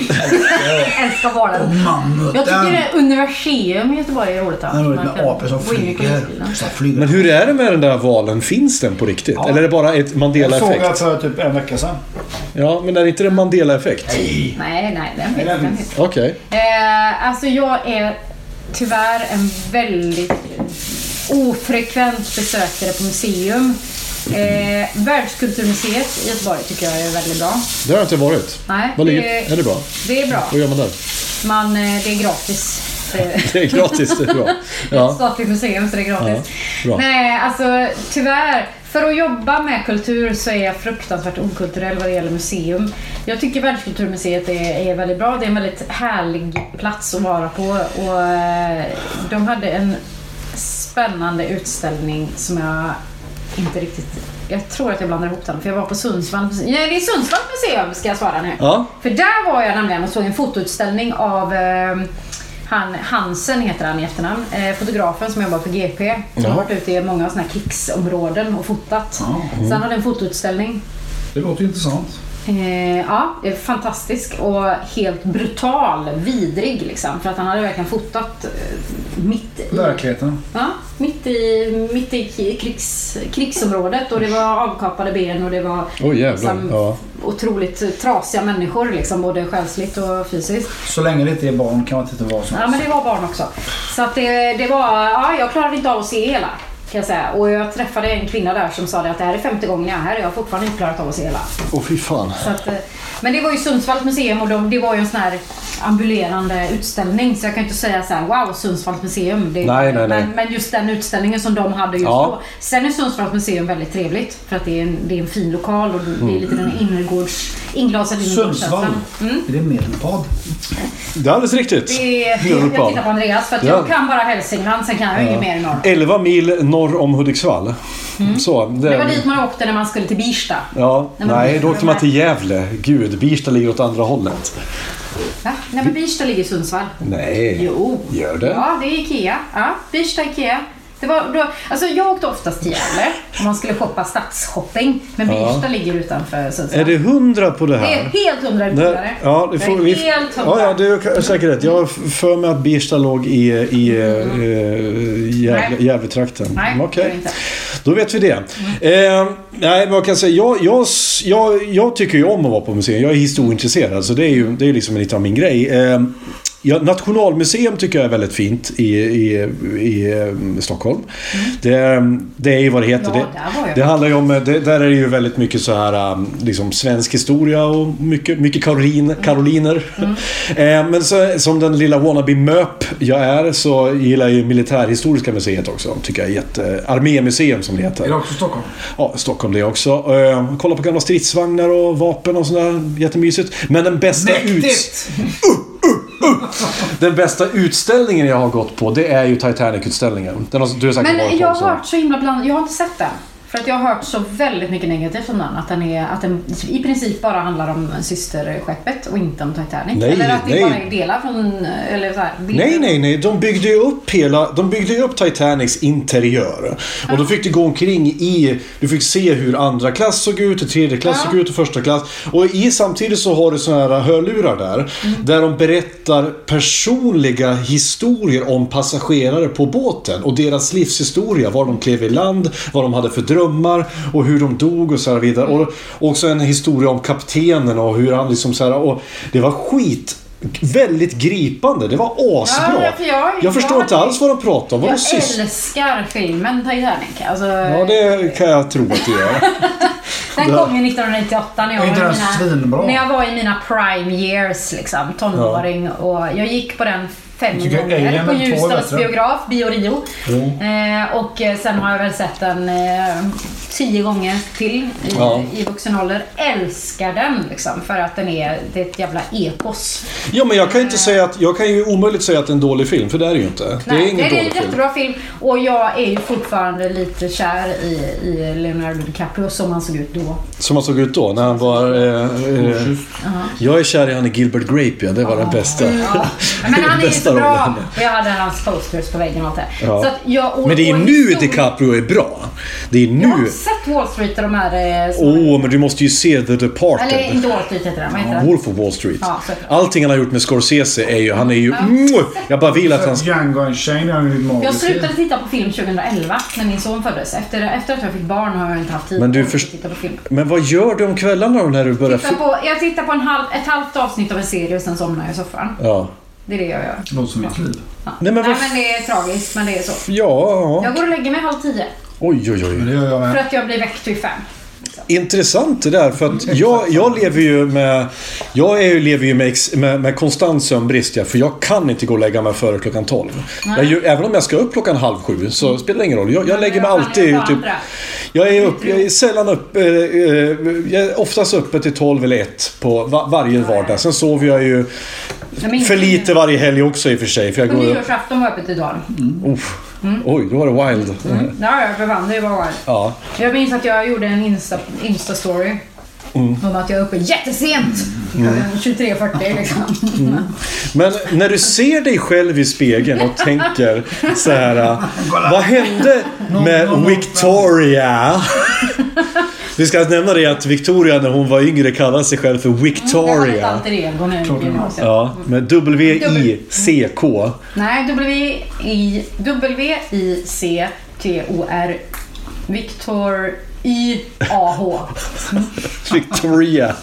Jag älskar vardagen.
Mammuten!
Jag tycker det Universium i Göteborg är roligt.
Han har roligt med apor som
gå in i
flyger.
kommunstilen.
Så här flyger.
Men hur är det med den där valen? Finns den på riktigt? Eller är det bara ett
Jag såg jag
Mandela-effekt?
för typ en vecka sedan.
Ja, men är det inte det en Mandela-effekt?
Nej, nej, den
Nej, den
finns- den
finns.
finns.
Okej.
Eh, alltså jag är tyvärr en väldigt ofrekvent besökare på museum. Eh, Världskulturmuseet i Göteborg tycker jag är väldigt bra.
Det har jag inte varit.
Nej,
Vad ligger...
det-
Är det bra?
Det är bra.
Vad gör man där?
Man, eh, det är gratis. Eh,
Det är gratis, det är bra.
Ett
Ja.
statligt museum så det är gratis.
Ja, bra.
Nej, alltså tyvärr. För att jobba med kultur så är jag fruktansvärt okulturell vad det gäller museum. Jag tycker Världskulturmuseet är, är väldigt bra. Det är en väldigt härlig plats att vara på. Och, eh, de hade en spännande utställning som jag inte riktigt... Jag tror att jag blandar ihop den, för jag var på Sundsvall museum. Nej, det är Sundsvall museum ska jag svara nu.
Ja.
För där var jag nämligen och såg en fotoutställning av eh, han, Hansen heter han i efternamn. Eh, fotografen som jobbar på GP. Som har varit ute i många sådana här krigsområden och fotat. Så han hade en fotoutställning.
Det låter ju intressant.
Eh, ja, eh, fantastisk och helt brutal, vidrig liksom. För att han hade verkligen fotat eh, mitt i
Verkligheten.
Ja, mitt i, mitt i ki- krigs, krigsområdet och det var avkapade ben och det var liksom
Oj, jävlar. Ja.
otroligt trasiga människor, liksom, både själsligt och fysiskt.
Så länge det inte är barn kan man titta på vad som
Ja, men det var barn också. Så att det, det var, ja, jag klarade inte av att se hela. Kan jag säga. Och jag träffade en kvinna där som sa det att det här är femte gången jag är här och jag har fortfarande inte klarat av att se hela.
Åh, fy fan.
Så att, eh, men det var ju Sundsvalls museum och de, det var ju en sån här ambulerande utställning. Så jag kan ju inte säga så här, wow, Sundsvalls museum. Det,
Nej, nej, nej.
Men, men just den utställningen som de hade just
Ja.
då. Sen är Sundsvalls museum väldigt trevligt för att det är en, det är en fin lokal och
Mm.
det är lite den innergårds, inglasade
Sundsvall.
innergårdskänslan. Mm.
Är det Medelpad?
Det är alldeles riktigt.
Det är,
Bjuder
jag
på.
tittar på Andreas för att
Ja.
jag kan bara Hälsingland, sen kan jag inget mer i norr.
11 mil norr om Hudiksvall. Så, det,
Mm. Det var dit man åkte när man skulle till Birsta.
Ja,
Nej, men-
nej, då åkte man till Gävle. Gud, Birsta ligger åt andra hållet.
Va? Nej men Birsta ligger i Sundsvall.
Nej,
Jo.
gör det?
Ja, det är Ikea. Ja, Birsta Ikea. Det var, då, alltså jag åkte oftast till Gävle om man skulle shoppa stadsshopping. Men Birsta ligger utanför Sundsvall.
Är det hundra på det här?
Det är helt hundra
Nej,
utgivare.
ja, det får,
jag är
vi,
helt
ja,
hundra.
ja, du har säkert rätt. Jag har f- för mig att Birsta låg i, i eh, Gävle-
Nej.
Gävletrakten.
Nej,
Mm, okej.
det är inte. Mm.
Då vet vi det. Eh, nej, men jag kan säga, jag, jag, s- jag, jag tycker ju om att vara på museum. Jag är historieintresserad, så det är ju det är liksom lite av min grej. Eh, ja, Nationalmuseum tycker jag är väldigt fint i, i, i eh, Stockholm. Det, det är ju vad det heter.
Mm. Ja,
det,
där var jag.
det handlar ju om, eh, det, där är det ju väldigt mycket så här um, liksom svensk historia och mycket, mycket Karolin, karoliner. Eh, Men så, som den lilla wannabe MÖP jag är så gillar jag ju Militärhistoriska museet också. Tycker jag är jätte... Armémuseum som det heter.
Är det också Stockholm?
Ja, Stockholm det också. Eh, kolla på gamla stridsvagnar och vapen och sådär. Jättemysigt. Men den bästa, ut,
Mäktigt!
den bästa utställningen jag har gått på det är ju Titanic-utställningen. Den har, du har säkert varit på
Men jag
också.
har hört så himla bland... Jag har inte sett den. För att jag har hört så väldigt mycket negativt om den. Att den, är, att den i princip bara handlar om systerskeppet och inte om Titanic.
Nej,
eller att det
nej.
bara är delar från... Eller så här, bilder.
Nej, nej, nej. De byggde ju upp hela... De byggde ju upp Titanics interiör. Och då fick du gå omkring i... Du fick se hur andra klass såg ut, hur tredje klass
Ja.
såg ut och första klass. Och i samtidigt så har du såna här hörlurar där. Där de berättar personliga historier om passagerare på båten. Och deras livshistoria. Var de klev i land, vad de hade för drömmar och hur de dog och så här vidare. Och också en historia om kaptenen och hur han liksom så här... Och det var skit... Väldigt gripande. Det var as
Ja,
bra.
för jag-
jag förstår
jag-
inte alls vad de pratar om. Vadå
Jag
sist?
älskar filmen Titanic. Alltså,
Ja, det kan jag tro att du gör.
Den kom ju 1998 när jag,
Är inte
var i
den svinbra?
mina, när jag var i mina prime years. Liksom, tonåring. Och jag gick på den fem
tycker
gånger
Alien
på
är två
Ljusdals
bättre.
biograf, Biorio. Eh, och eh, sen har jag väl sett den eh, tio gånger till i,
Ja.
i vuxen ålder. Älskar den liksom, för att den är, det är ett jävla epos.
Ja, men jag kan, inte säga att, jag kan ju omöjligt säga att det är en dålig film, för det är det ju inte.
Nej,
det är ingen
det är en
dålig film.
jättebra film. Och jag är ju fortfarande lite kär i, i Leonardo DiCaprio som han såg ut då.
Som han såg ut då, när han var... Eh, eh, jag är kär i han i Gilbert Grape, ja. Det var den bästa.
Ja. Men han är ju
Bästa
så bra.
rollen.
Och jag hade hans posters på väggen och allt det.
Ja.
Så att jag, och,
Men det är
och
nu
historia-
DiCaprio är bra. Det är
Jag har
nu.
inte sett Wall Street och de här... eh,
Åh,
små-
men du måste ju se The
Eller
Departed.
inte Wall Street heter den, vad heter den?
Wolf of Wall Street.
Ja, såklart.
Allting han har gjort med Scorsese är ju... Han är ju... Mwah! Jag bara vill att han ska...
Django Unchained är ju
Jag
magisk.
slutade titta på film 2011 när min son föddes. Efter, efter att jag fick barn har jag inte haft tid
Men du
att
först-
titta på film.
Men vad gör du om kvällarna då när du börjar...
Titta på, jag tittar på en halv, ett halvt avsnitt av en serie och sen somnar jag i soffan.
Ja.
Det är det jag gör.
Det låter som mitt liv.
Ja.
Nej, men vad-
Nej men det är tragiskt men det är så.
Ja, ja.
Jag går och lägger mig halv tio
Oj, oj, oj.
Men det gör jag
för
med.
att jag blir väckt vid fem.
Intressant det där för att jag, jag lever ju med Jag är ju, lever ju med, ex, med, med konstant sömnbrist ja, för jag kan inte gå och lägga mig före klockan 12. Jag, gör- även om jag ska upp klockan halv sju så spelar det ingen roll. Jag, jag lägger mig
Mm. jag kan
alltid
Mm. ju ta
typ
andra.
jag är, upp, jag är sällan uppe, eh, eh, jag är oftast uppe till 12 eller 1 på va, varje vardag. Sen sover jag ju
Jag minns-
för lite varje helg också i och för sig. För jag
På
går, upp-
nyårsafton var jag uppe till dagen.
oh,
Mm.
oj, då var det wild.
Ja, jag förband det var wild.
Ja.
Jag minns att jag gjorde en Insta- Insta-story. Om att jag är uppe jättesent. klockan 23.40 liksom.
Men när du ser dig själv i spegeln och tänker så här. äh, Vad hände med Victoria? Vi ska nämna det att Victoria när hon var yngre kallade sig själv för
Mm, Jag har ett
Victoria.
alter ego nu i gymnasiet.
Ja, med W-I-C-K.
Nej, W-I- W-I-C-T-O-R. Victor I-A-H.
Victoria.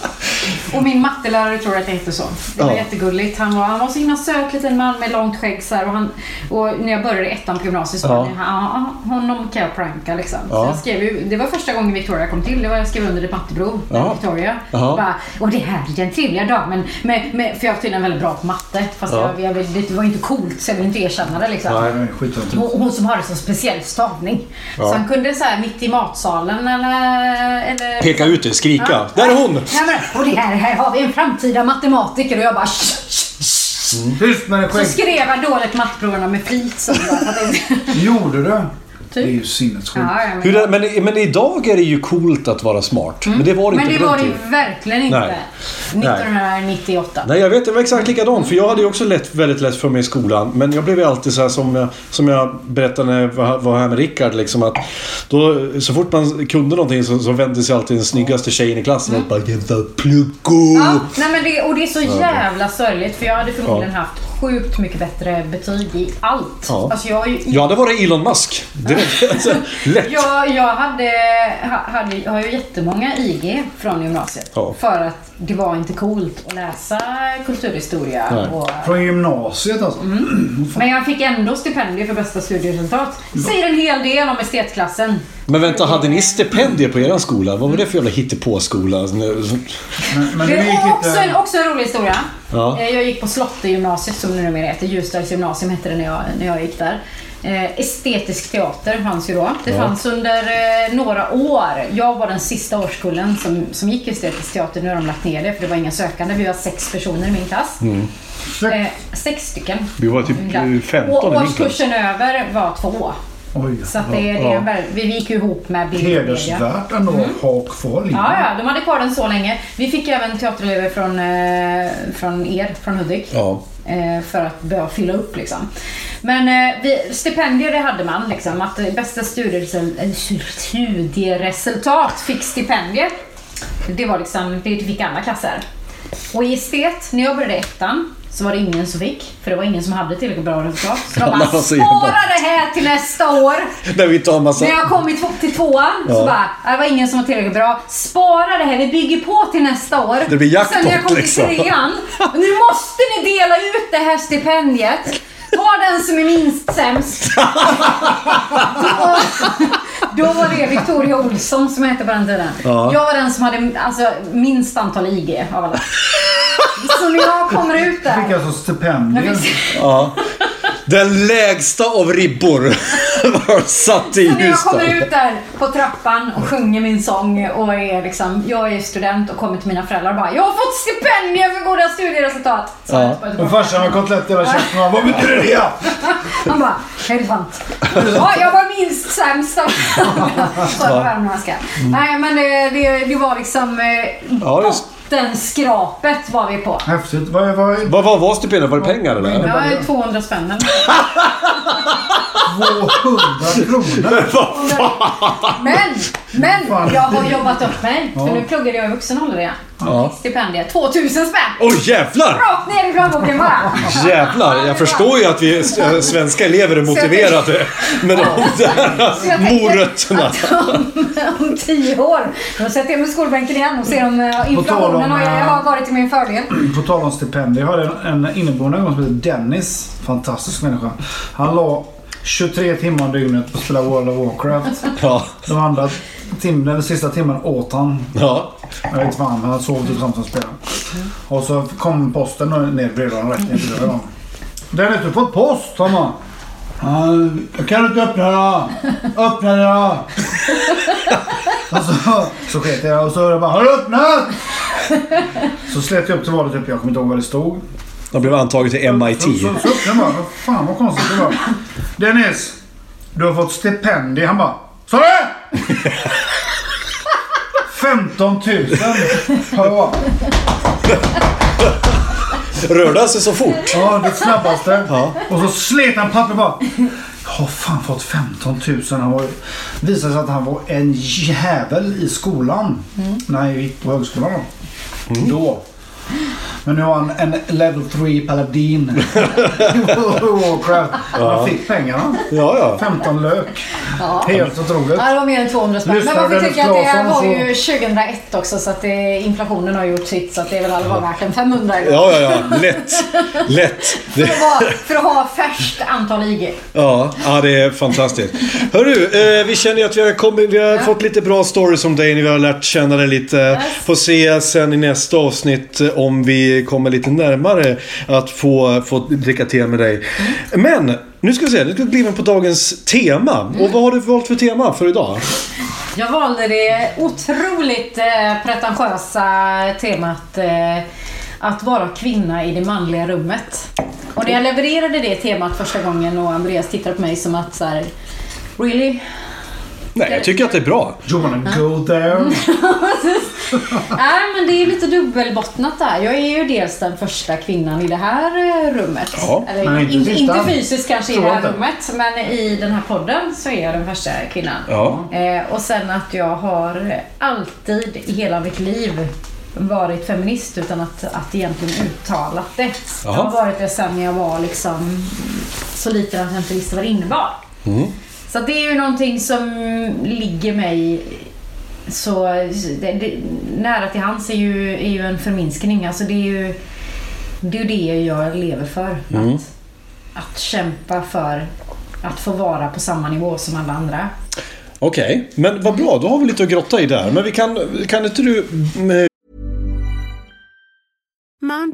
Och min mattelärare tror att jag heter så. Det var
Ja.
jättegulligt. Han var, han var så himla söt liten man med långt skägg så här, och, han, och när jag började i ettan på gymnasiet så
Ja.
ja. han, ja, honom kan jag pranka liksom.
Ja.
Så jag skrev, ju- det var första gången Victoria kom till. Det var jag skrev under ett matteprov. med
Ja.
Victoria.
Ja.
Bara, och det här är den trevliga damen. Med, med, för jag var tydligen väldigt bra på matte. Fast
Ja.
jag, jag, vill- det var inte coolt så jag ville inte erkänna det liksom.
Nej.
Nej, skitont.
Hon, hon som har det som speciell stavning.
Ja.
Så han kunde så här mitt i matsalen eller... eller
Peka ut det, skrika. Där är hon!
Ja, men, och det här, här har vi en framtida matematiker och jag bara... "Sh, sh, sh."
Tyst med dig
Mm. Så
själv.
skrev jag dåligt matteproverna med flit. Så bara, för att det-
Gjorde du? Det är ju
ja,
sinnessjukt.
Typ. ja, men,
Hur är, men, men idag är det ju coolt att vara smart. Men det var det
Mm. men
inte
det
på den
var det ju
tiden.
verkligen inte.
Nej.
1998.
Nej, jag vet, det var exakt likadan. För jag hade ju också lätt, väldigt lätt för mig i skolan. Men jag blev ju alltid så här som jag, som jag berättade när jag var var här med Rickard. Liksom, att då, så fort man kunde någonting så, så vände sig alltid den snyggaste tjejen i klassen och bara “Jävla pluggo!”
Ja, nej men det, och det är så jävla sorgligt för jag hade förmodligen haft sjukt mycket bättre betyg i allt.
Ja.
Alltså jag har ju
Jag hade varit Elon Musk. Direkt. Alltså, lätt.
Jag, jag hade, ha- hade, jag har ju jättemånga IG från gymnasiet.
Ja.
För att det var inte coolt att läsa
Nej.
kulturhistoria. Och,
Från gymnasiet alltså.
Mm. men jag fick ändå stipendier för bästa studieresultat. Säger en hel del om estetklassen.
Men vänta, hade ni stipendier på er skola? Vad var det för jävla hittepåskola? Alltså,
Men, men
Det
du gick
är också, en,
inte...
också en rolig historia.
eh, Ja.
Eh, Jag gick på Slottegymnasiet som det numera heter. Ljusdals gymnasium hette det när jag, när jag gick där. Eh, Estetisk teater fanns ju då. Det
Ja.
fanns under eh, några år. Jag var den sista årskullen som, som gick estetisk teater. Nu har de lagt ner det för det var inga sökande. Vi var sex personer i min klass. Eh, sex stycken.
Mm. Vi var typ,
i min klass.
eh, 15
Och
i min
årskursen över var två.
Oj.
Så att det, det är
Ja.
en väl- vi gick ju ihop med bild och media.
Hedersvärt ändå att ha kvar linjen.
Mm. Ja, ja, de hade kvar den så länge. Vi fick även teaterelever från, eh, från er, från Hudik.
Ja.
Eh, för att börja fylla upp liksom. Men eh, vi, stipendier det hade man liksom. Att eh, bästa studieresel- eh, studieresultat fick stipendier. Det var liksom, det fick alla klasser. Och i estet, när jag började ettan, så var det ingen som fick. För det var ingen som hade tillräckligt bra resultat. Så de
Alla
bara,
var så jävla-
spara det här till nästa år.
När vi tar en massa...
När jag kom i två- till tvåan
Ja.
så bara, "Ah, det var ingen som var tillräckligt bra. Spara det här, vi bygger på till nästa år.
Det blir jackpot,
Sen när jag kom till
liksom.
trean, nu måste ni dela ut det här stipendiet. Ta den som är minst sämst. då, då var det Victoria Olsson som hette på den tiden.
Ja.
Jag var den som hade alltså, minst antal IG av alla. Så när jag kommer ut där.
Fick alltså stipendier.
Ja. Den lägsta av ribbor var satt i
Så när jag
Ljusdal.
kommer ut där på trappan och sjunger min sång och är liksom, jag är student och kommer till mina föräldrar och bara “Jag har fått stipendier för goda studieresultat”. Så typ,
Ja.
jag bara,
Och farsan har kotlett i hela käften. Vad betyder det?
Han bara “Är det sant?” Ja, jag var minst sämst av alla." Så jag värmländska. Nej, men det, det, det var liksom eh,
Mm. Ja, just.
bottenskrapet var vi på.
Häftigt. Vad, vad,
Vad var, var stipendiet? Var det pengar eller?
Jag är 200 spänn eller något.
200 kronor?
Men, men
Fan.
jag har jobbat upp mig. För nu pluggade jag i vuxen ålder igen.
Ja.
Stipendier. 2000 spänn!
Oj jävlar!
Rakt ner i plånboken bara.
Jävlar! Jag förstår ju att vi eh, svenska elever är motiverade med de där
Så jag tänker
morötterna.
att Om, om tio år, då sätter jag mig i skolbänken igen och ser om eh,
tal om,
inflationen har,
eh,
har varit till min fördel.
På tal om stipendier. Jag hade en, en inneboende en gång som hette Dennis. Fantastisk människa. Han la 23 timmar om dygnet på att spela World of Warcraft.
Ja.
De andra tim, den sista timmen åt han.
Ja.
Jag vet inte fan, men han sov typ samtidigt som spelaren. Och så kom posten och ner bredvid honom. Rätt ner bredvid honom. Dennis, du får post, sa man. "Ja, Jag kan inte öppna den. då. Öppna den. då." Och så, så sket jag och så hörde jag bara Har du öppnat? Så slet jag upp till valet, typ, jag kommer inte ihåg vad det stod.
De blev antagen till MIT.
Så, så, så öppnade jag bara, vad fan vad konstigt det var. Dennis, du har fått stipendium. Han bara, sa du? 15 000 per år.
Rörde sig så fort.
Ja, det snabbaste.
Ja.
Och så slet han papper bara. Jag har fan fått 15 000. Han var, visade sig att han var en
Mm.
jävel i skolan. När han gick på högskolan. Då.
Men nu har han en level 3 paladin. i World of Warcraft. Han fick pengarna.
Ja, ja.
15 lök.
Ja.
Helt otroligt.
Ja, det var mer än 200 spänn. Men
Lyssnar
man får
Dennis
tycka att det här var
Claesson så-
ju 2001 också så att det, inflationen har gjort sitt så att det är väl aldrig bara värt en 500 eller
Ja, ja, ja. Lätt. Lätt.
för,
Det,
att vara, för att ha färskt antal IG.
ja, ja, det är fantastiskt. Hörru, eh, vi känner ju att vi har, kommit, vi har fått lite bra stories om dig. Vi har lärt känna dig lite. Får se sen i nästa avsnitt eh, om vi kommer lite närmare att få, få dricka te med dig. Men, nu ska vi se. Nu ska vi kliva in på dagens tema. Och vad har du valt för tema för idag?
Jag valde det otroligt eh, pretentiösa temat eh, att vara kvinna i det manliga rummet. Och när jag levererade det temat första gången och Andreas tittade på mig som att så här, really?
Nej, jag tycker att det är bra.
You wanna go there?
Nej, men det är lite dubbelbottnat där. Jag är ju dels den första kvinnan i det här eh, rummet.
Ja,
Eller
men inte
in, inte
sista.
fysiskt kanske i
Tror
det här
inte.
rummet, men i den här podden så är jag den första kvinnan.
Ja.
Eh, och sen att jag har alltid i hela mitt liv varit feminist utan att, att egentligen uttalat det. Jag
Jaha.
har varit det sen jag var liksom så liten att jag inte visste vad det innebar. Så det är ju någonting som ligger mig så det, det, nära till hands är ju, är ju en förminskning. Alltså det är ju det, är ju det jag lever för. Att, att kämpa för att få vara på samma nivå som alla andra.
Okej, men vad bra. Då har vi lite att grotta i där. Men vi kan, kan inte du mm,
Mom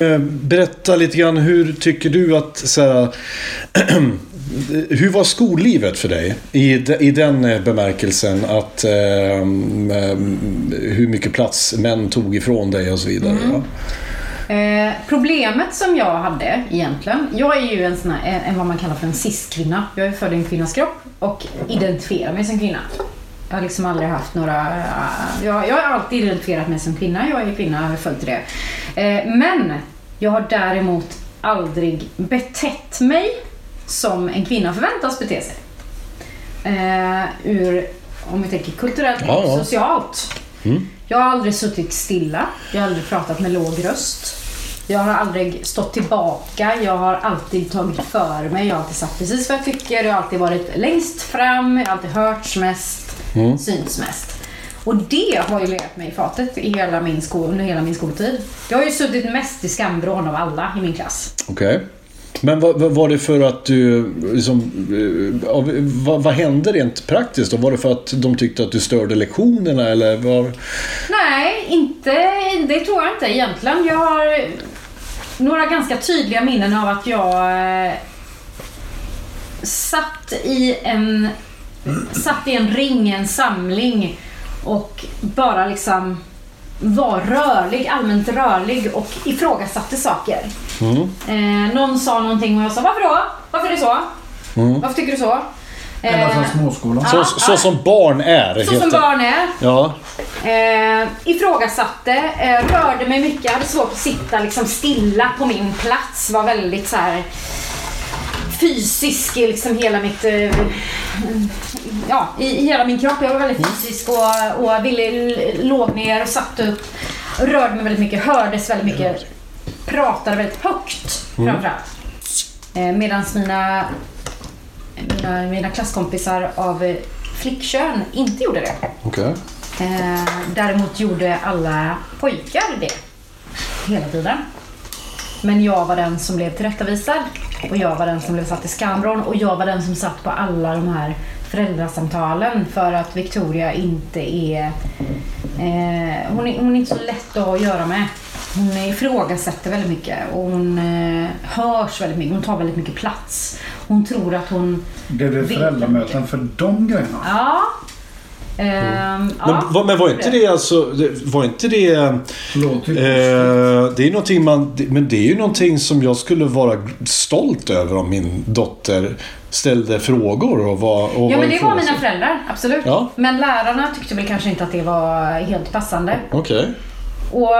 Eh, Berätta lite grann, hur tycker du att... Så här, hur var skollivet för dig? I, de- I den eh, bemärkelsen att... Eh, mm, hur mycket plats män tog ifrån dig och så vidare.
Mm.
va?
Eh, problemet som jag hade egentligen, jag är ju en sån här, en, en vad man kallar för en cis-kvinna. Jag är född i en kvinnas kropp och identifierar mig som kvinna. Jag har liksom aldrig haft några... eh, Jag, jag har alltid identifierat mig som kvinna. Jag är kvinna, jag är född till det. Eh, men jag har däremot aldrig betett mig som en kvinna förväntas bete sig. Eh, ur, om vi tänker kulturellt
Ja, ja.
och socialt. Jag har aldrig suttit stilla. Jag har aldrig pratat med låg röst. Jag har aldrig stått tillbaka. Jag har alltid tagit för mig. Jag har alltid sagt precis vad jag tycker. Jag har alltid varit längst fram. Jag har alltid hörts mest. Syns mest. Och det har ju legat mig i fatet i hela min sko- under hela min skoltid. Jag har ju suttit mest i skamvrån av alla i min klass.
Okej. Men vad, vad var det för att du... Liksom, eh, av- vad, vad hände rent praktiskt? Då? Var det för att de tyckte att du störde lektionerna? Eller var,
Nej, inte, det tror jag inte egentligen. Jag har några ganska tydliga minnen av att jag eh, satt i en, satt i en ring, en samling och bara liksom var rörlig, allmänt rörlig och ifrågasatte saker. Eh, någon sa någonting och jag sa varför då? Varför är det så? Varför tycker du så?
Ända
Eh,
sedan småskolan.
så,
Ja,
så
ja.
som barn är. helt
så som
enkelt.
barn är.
Ja.
Eh, ifrågasatte, eh, rörde mig mycket, Jag hade svårt att sitta liksom stilla på min plats. Var väldigt så här fysisk i liksom hela mitt... Eh, ja, i, i hela min kropp. Jag var väldigt fysisk och, och ville l- låg ner och satt upp. Rörde mig väldigt mycket, hördes väldigt mycket. Pratade väldigt högt framförallt. Eh, Medan mina, mina, mina klasskompisar av eh, flickkön inte gjorde det.
Okej.
Eh, däremot gjorde alla pojkar det hela tiden. Men jag var den som blev tillrättavisad och jag var den som blev satt i skamvrån och jag var den som satt på alla de här föräldrasamtalen för att Victoria inte är... Eh, hon, är hon är inte så lätt att ha att göra med. Hon ifrågasätter väldigt mycket och hon eh, hörs väldigt mycket. Hon tar väldigt mycket plats. Hon tror att hon...
Det blev
vet mycket.
föräldramöten för de grejerna.
Ja. Ehm,
Men,
ja.
vad- men var inte det alltså... det- Var inte det...
Låter ju
Eh, det är någonting man... det- Men det är ju någonting som jag skulle vara stolt över om min dotter ställde frågor och var... Och
Ja men det var mina
ifrågasatt.
föräldrar, absolut.
Ja.
Men lärarna tyckte väl kanske inte att det var helt passande.
Okej.
Och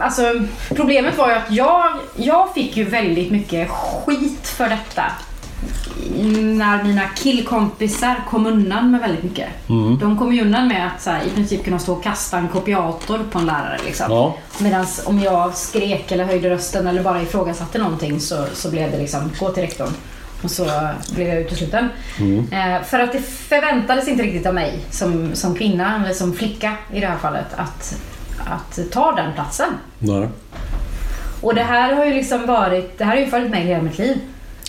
alltså, Problemet var ju att jag, jag fick ju väldigt mycket skit för detta. När mina killkompisar kom undan med väldigt mycket. De kom ju undan med att så här, i princip kunna stå och kasta en kopiator på en lärare. Liksom.
Ja.
Medan om jag skrek eller höjde rösten eller bara ifrågasatte någonting så, så blev det liksom gå till rektorn. Och så blev jag utesluten. Eh, för att det förväntades inte riktigt av mig som, som kvinna, eller som flicka i det här fallet, att, att ta den platsen.
Nej.
Och det här har ju liksom varit, det här har ju följt mig hela mitt liv.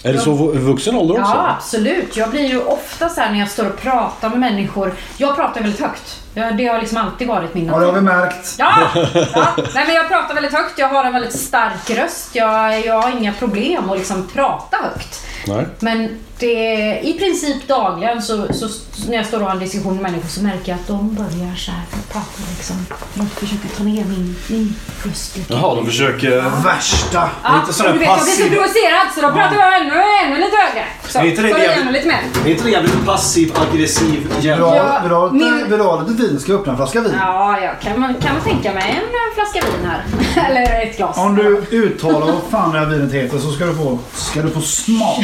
Är det så vu- vuxen ålder också?
Ja, absolut. Jag blir ju ofta så här när jag står och pratar med människor. Jag pratar väldigt högt. Jag, det har liksom alltid varit min
Ja, det har vi märkt.
Ja! ja. Nej, men jag pratar väldigt högt, jag har en väldigt stark röst. Jag, jag har inga problem att liksom prata högt.
Nej.
Men det, i princip dagligen så, så, när jag står och har en diskussion med människor så märker jag att de börjar så här prata liksom. De försöker ta ner min, min röst lite.
Jaha, de försöker...
Värsta.
Ja,
Lite sådär
och du vet, jag blir så
passiv.
provocerad så då pratar jag ännu, ännu lite högre. Så,
Är inte det
tar
det-
jag ännu lite mer.
Är inte det jävligt passiv, aggressiv
Vill du
jävla...
ha- vill du ha lite-
min-
vill du ha lite vin? Ska jag öppna en flaska vin?
Ja, jag kan, man, kan man tänka mig en eh, flaska vin här. Eller ett glas.
Om du uttalar vad fan det här vinet heter så ska du få, ska du få smak.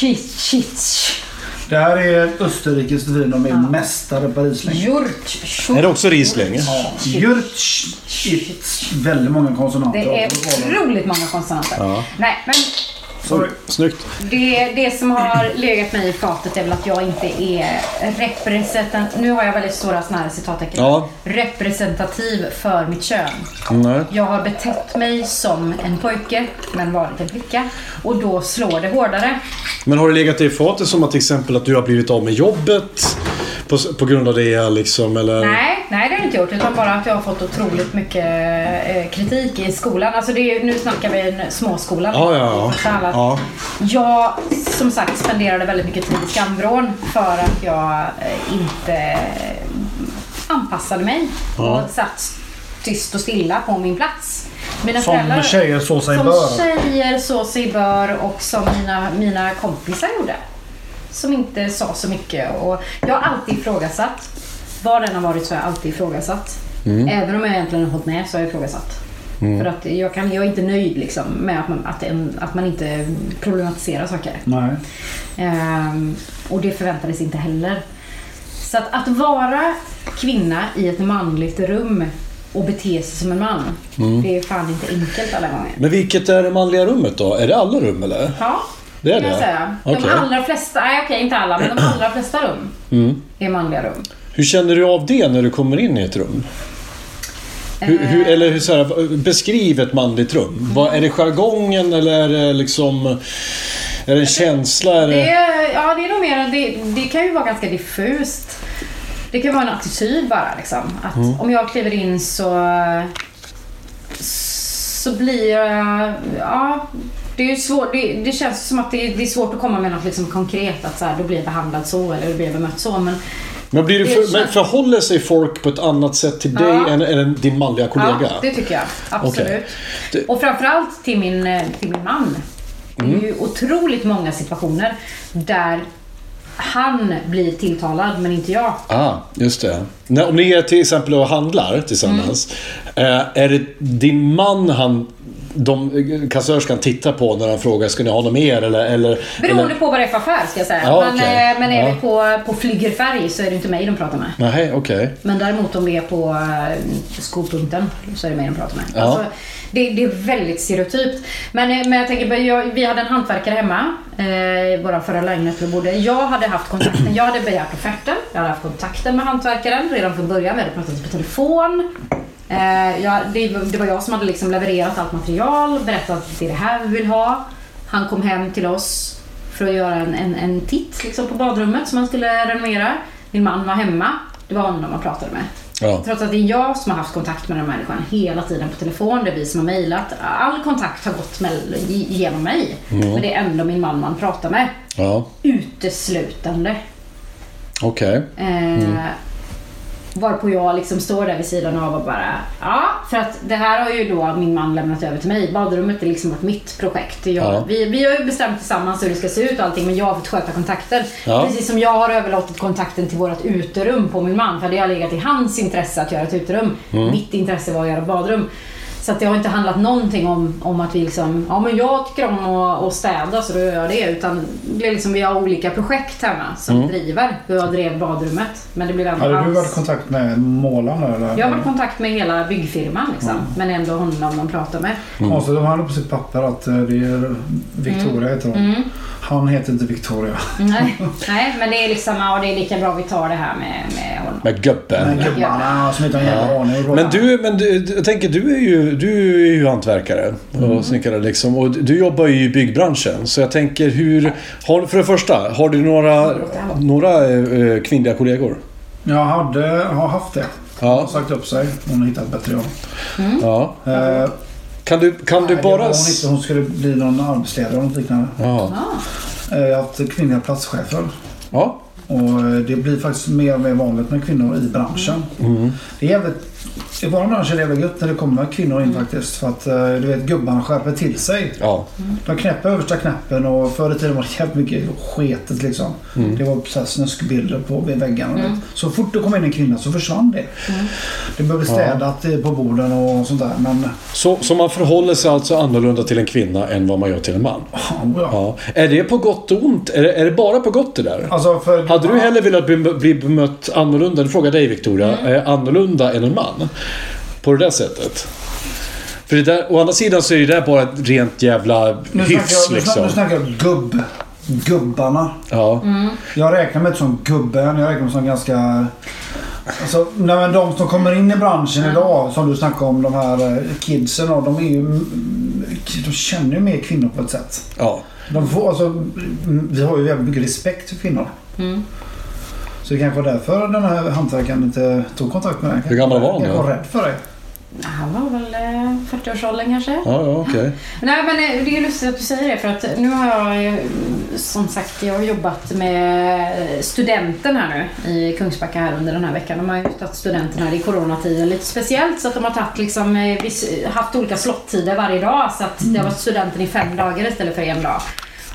Jurtschitzsch.
Det här är Österrikes vin. De är mästare på Riesling.
Jurt.
Är det också Riesling?
Ja. Jürtsch. It's Väldigt många konsonanter.
Det är otroligt många konsonanter. Nej, men
Sorry.
Snyggt.
det, det som har legat mig i fatet är väl att jag inte är representativ. Nu har jag väldigt stora såna här citattecken.
Ja.
Representativ för mitt kön.
Nej.
Jag har betett mig som en pojke men varit en flicka och då slår det hårdare.
Men har det legat dig i fatet som att till exempel att du har blivit av med jobbet på, på grund av det liksom eller?
Nej, nej det har jag inte gjort. Utan bara att jag har fått otroligt mycket eh, kritik i skolan. Alltså det är, ju- nu snackar vi en småskola.
Ja, ja,
Så
ja.
alla-
ja.
Jag som sagt spenderade väldigt mycket tid i skamvrån för att jag eh, inte anpassade mig och satt tyst och stilla på min plats. Mina föräldrar-
Som tjejer så sig
som
bör.
tjejer så sig bör och som mina, mina kompisar gjorde. Som inte sa så mycket. Och jag har alltid ifrågasatt. Var den har varit så har jag alltid ifrågasatt. Även om jag egentligen har hållit med så har jag ifrågasatt. För att jag, kan, jag är inte nöjd liksom, med att man, att, en, att man inte problematiserar saker.
Nej.
Ehm, och det förväntades inte heller. Så att, att vara kvinna i ett manligt rum och bete sig som en man. Det är fan inte enkelt alla gånger.
Men vilket är det manliga rummet då? Är det alla rum eller?
Ja,
Det är
kan jag
det?
säga.
Okej.
De allra flesta, nej okej inte alla, men de allra flesta rum
Mm.
är manliga rum.
Hur känner du av det när du kommer in i ett rum? Hur, hur,
Eh.
eller hur, så här, beskriv ett manligt rum. Vad, är det jargongen eller är det liksom... Är det en känsla? Är
Det
det...
är, ja, det är nog mer, det, det kan ju vara ganska diffust. Det kan vara en attityd bara liksom. Att
Mm.
om jag kliver in så så blir jag, ja, det är ju svårt, det, det känns som att det, det är svårt att komma med något liksom konkret att så här, då blir jag behandlad så eller då blir jag bemött så. Men
Men, blir du
det
för,
känns-
men förhåller sig folk på ett annat sätt till dig
Ja.
än, än din manliga kollega?
Ja, det tycker jag. Absolut.
Okej. Det-
Och framförallt till min, eh, till min man.
Mm.
Det är ju otroligt många situationer där han blir tilltalad men inte jag.
Ah, just det. När, om ni är till exempel och handlar tillsammans.
Mm.
Eh, är det din man han, de, kassörskan tittar på när han frågar ska ni ha något mer? Eller, eller,
Beroende
eller,
på vad det är för affär ska jag säga.
Ja,
men,
okej.
eh, men är
Ja.
vi på, på flygerfärg så är det inte mig de pratar med.
Nej, okej.
Men däremot om det är på eh, skopunkten så är det mig de pratar med.
Ja.
Alltså, det, det är väldigt stereotypt. Men, eh, men jag tänker, på- jag, vi hade en hantverkare hemma eh, i vår förra lägenhet vi bodde. Jag hade haft kontakten, jag hade begärt offerten. Jag hade haft kontakten med hantverkaren redan från början. Vi hade pratat på telefon. Eh, jag, det, det var jag som hade liksom levererat allt material, berättat att det är det här vi vill ha. Han kom hem till oss för att göra en, en, en titt liksom, på badrummet som han skulle renovera. Min man var hemma. Det var honom man pratade med.
Ja.
Trots att det är jag som har haft kontakt med den här människan hela tiden på telefon. Det är vi som har mejlat. All kontakt har gått med, genom mig. Men det är ändå min man man pratar med.
Ja,
Uteslutande.
okej.
Eh, Varpå jag liksom står där vid sidan av och bara, ja, för att det här har ju då min man lämnat över till mig. Badrummet är liksom varit mitt projekt. Jag,
Ja.
vi, vi har ju bestämt tillsammans hur det ska se ut och allting, men jag har fått sköta kontakten.
Ja.
Precis som jag har överlåtit kontakten till vårt uterum på min man, för det har legat i hans intresse att göra ett uterum.
Mm.
Mitt intresse var att göra badrum. Så att det har inte handlat någonting om, om att vi liksom, ja men jag tycker om att, att städa så då gör jag det. Utan det är liksom, vi har olika projekt hemma som driver. Jag drev badrummet. Men det blev ändå
Hade Mm. du
hans-
varit i kontakt med Mm. målaren där, eller?
jag har varit i kontakt med hela byggfirman liksom. Men ändå honom de pratar med.
Mm.
Konstigt, de hade på sitt papper att eh, det är
Mm.
Victoria heter hon. Han heter inte Victoria.
Nej, nej men det är liksom, ja det är lika bra vi tar det här med, med honom.
Med gubben.
Men gubbarna som inte har en jävla aning.
Men du, men du, du- jag tänker du är ju, du är ju hantverkare
Mm.
och snickare liksom. Och du jobbar ju i byggbranschen. Så jag tänker hur... Har, för det första, har du några, några eh, kvinnliga kollegor?
Jag hade, har haft det. Hon har
Ja.
sagt upp sig. Hon har hittat bättre jobb.
ja.
Eh,
Kan du, kan du
nej, det var
bara...
Hon,
s-
inte, hon skulle bli någon arbetsledare eller något liknande.
Ja.
Eh, Jag har haft kvinnliga platschefer.
ja.
Och eh, det blir faktiskt mer och mer vanligt med kvinnor i branschen.
Mm.
Det är jävligt, I vår bransch är det jävligt gött när det kommer kvinnor in faktiskt. För att eh, du vet gubbarna skärper till sig.
Ja.
De knäpper översta knappen och förr i tiden var det jävligt mycket sketet liksom.
Mm.
Det var så här snuskbilder på vid väggarna. Mm. Så fort det kom in en kvinna så försvann det. Det började städat eh, på borden och sånt där. Men
Så, så man förhåller sig alltså annorlunda till en kvinna än vad man gör till en man?
fan ja.
Ja. Är det på gott och ont? Är det, är det bara på gott det där?
Alltså för
Hade du hellre velat bli, bli bemött annorlunda, nu frågar jag dig Victoria,
Mm.
eh, annorlunda än en man? På det där sättet? För det där, å andra sidan så är det där bara ett rent jävla
nu snackar,
hyfs
jag, nu,
liksom.
snackar, nu snackar jag gubb. Gubbarna.
Ja.
Jag räknar mig inte som gubben. Jag räknar mig som ganska... Alltså, nej, men de som kommer in i branschen idag, som du snackade om, de här eh, kidsen. och De, är ju, de känner ju mer kvinnor på ett sätt.
ja.
De får, alltså, mm, vi har ju jävligt mycket respekt för kvinnor.
Mm.
Så det kanske var därför den här hantverkaren inte tog kontakt med dig.
Hur gammal var han
Jag
då?
var rädd för dig.
Han var väl eh, 40-årsåldern kanske.
Ja, ja, okej.
Nej men eh, det är ju lustigt att du säger det för att nu har jag eh, som sagt jag har jobbat med studenten här nu i Kungsbacka här under den här veckan. De har ju tagit studenten här i coronatiden lite speciellt så att de har tagit liksom, eh, viss- haft olika slottider varje dag så att det har varit studenten i fem dagar istället för en dag.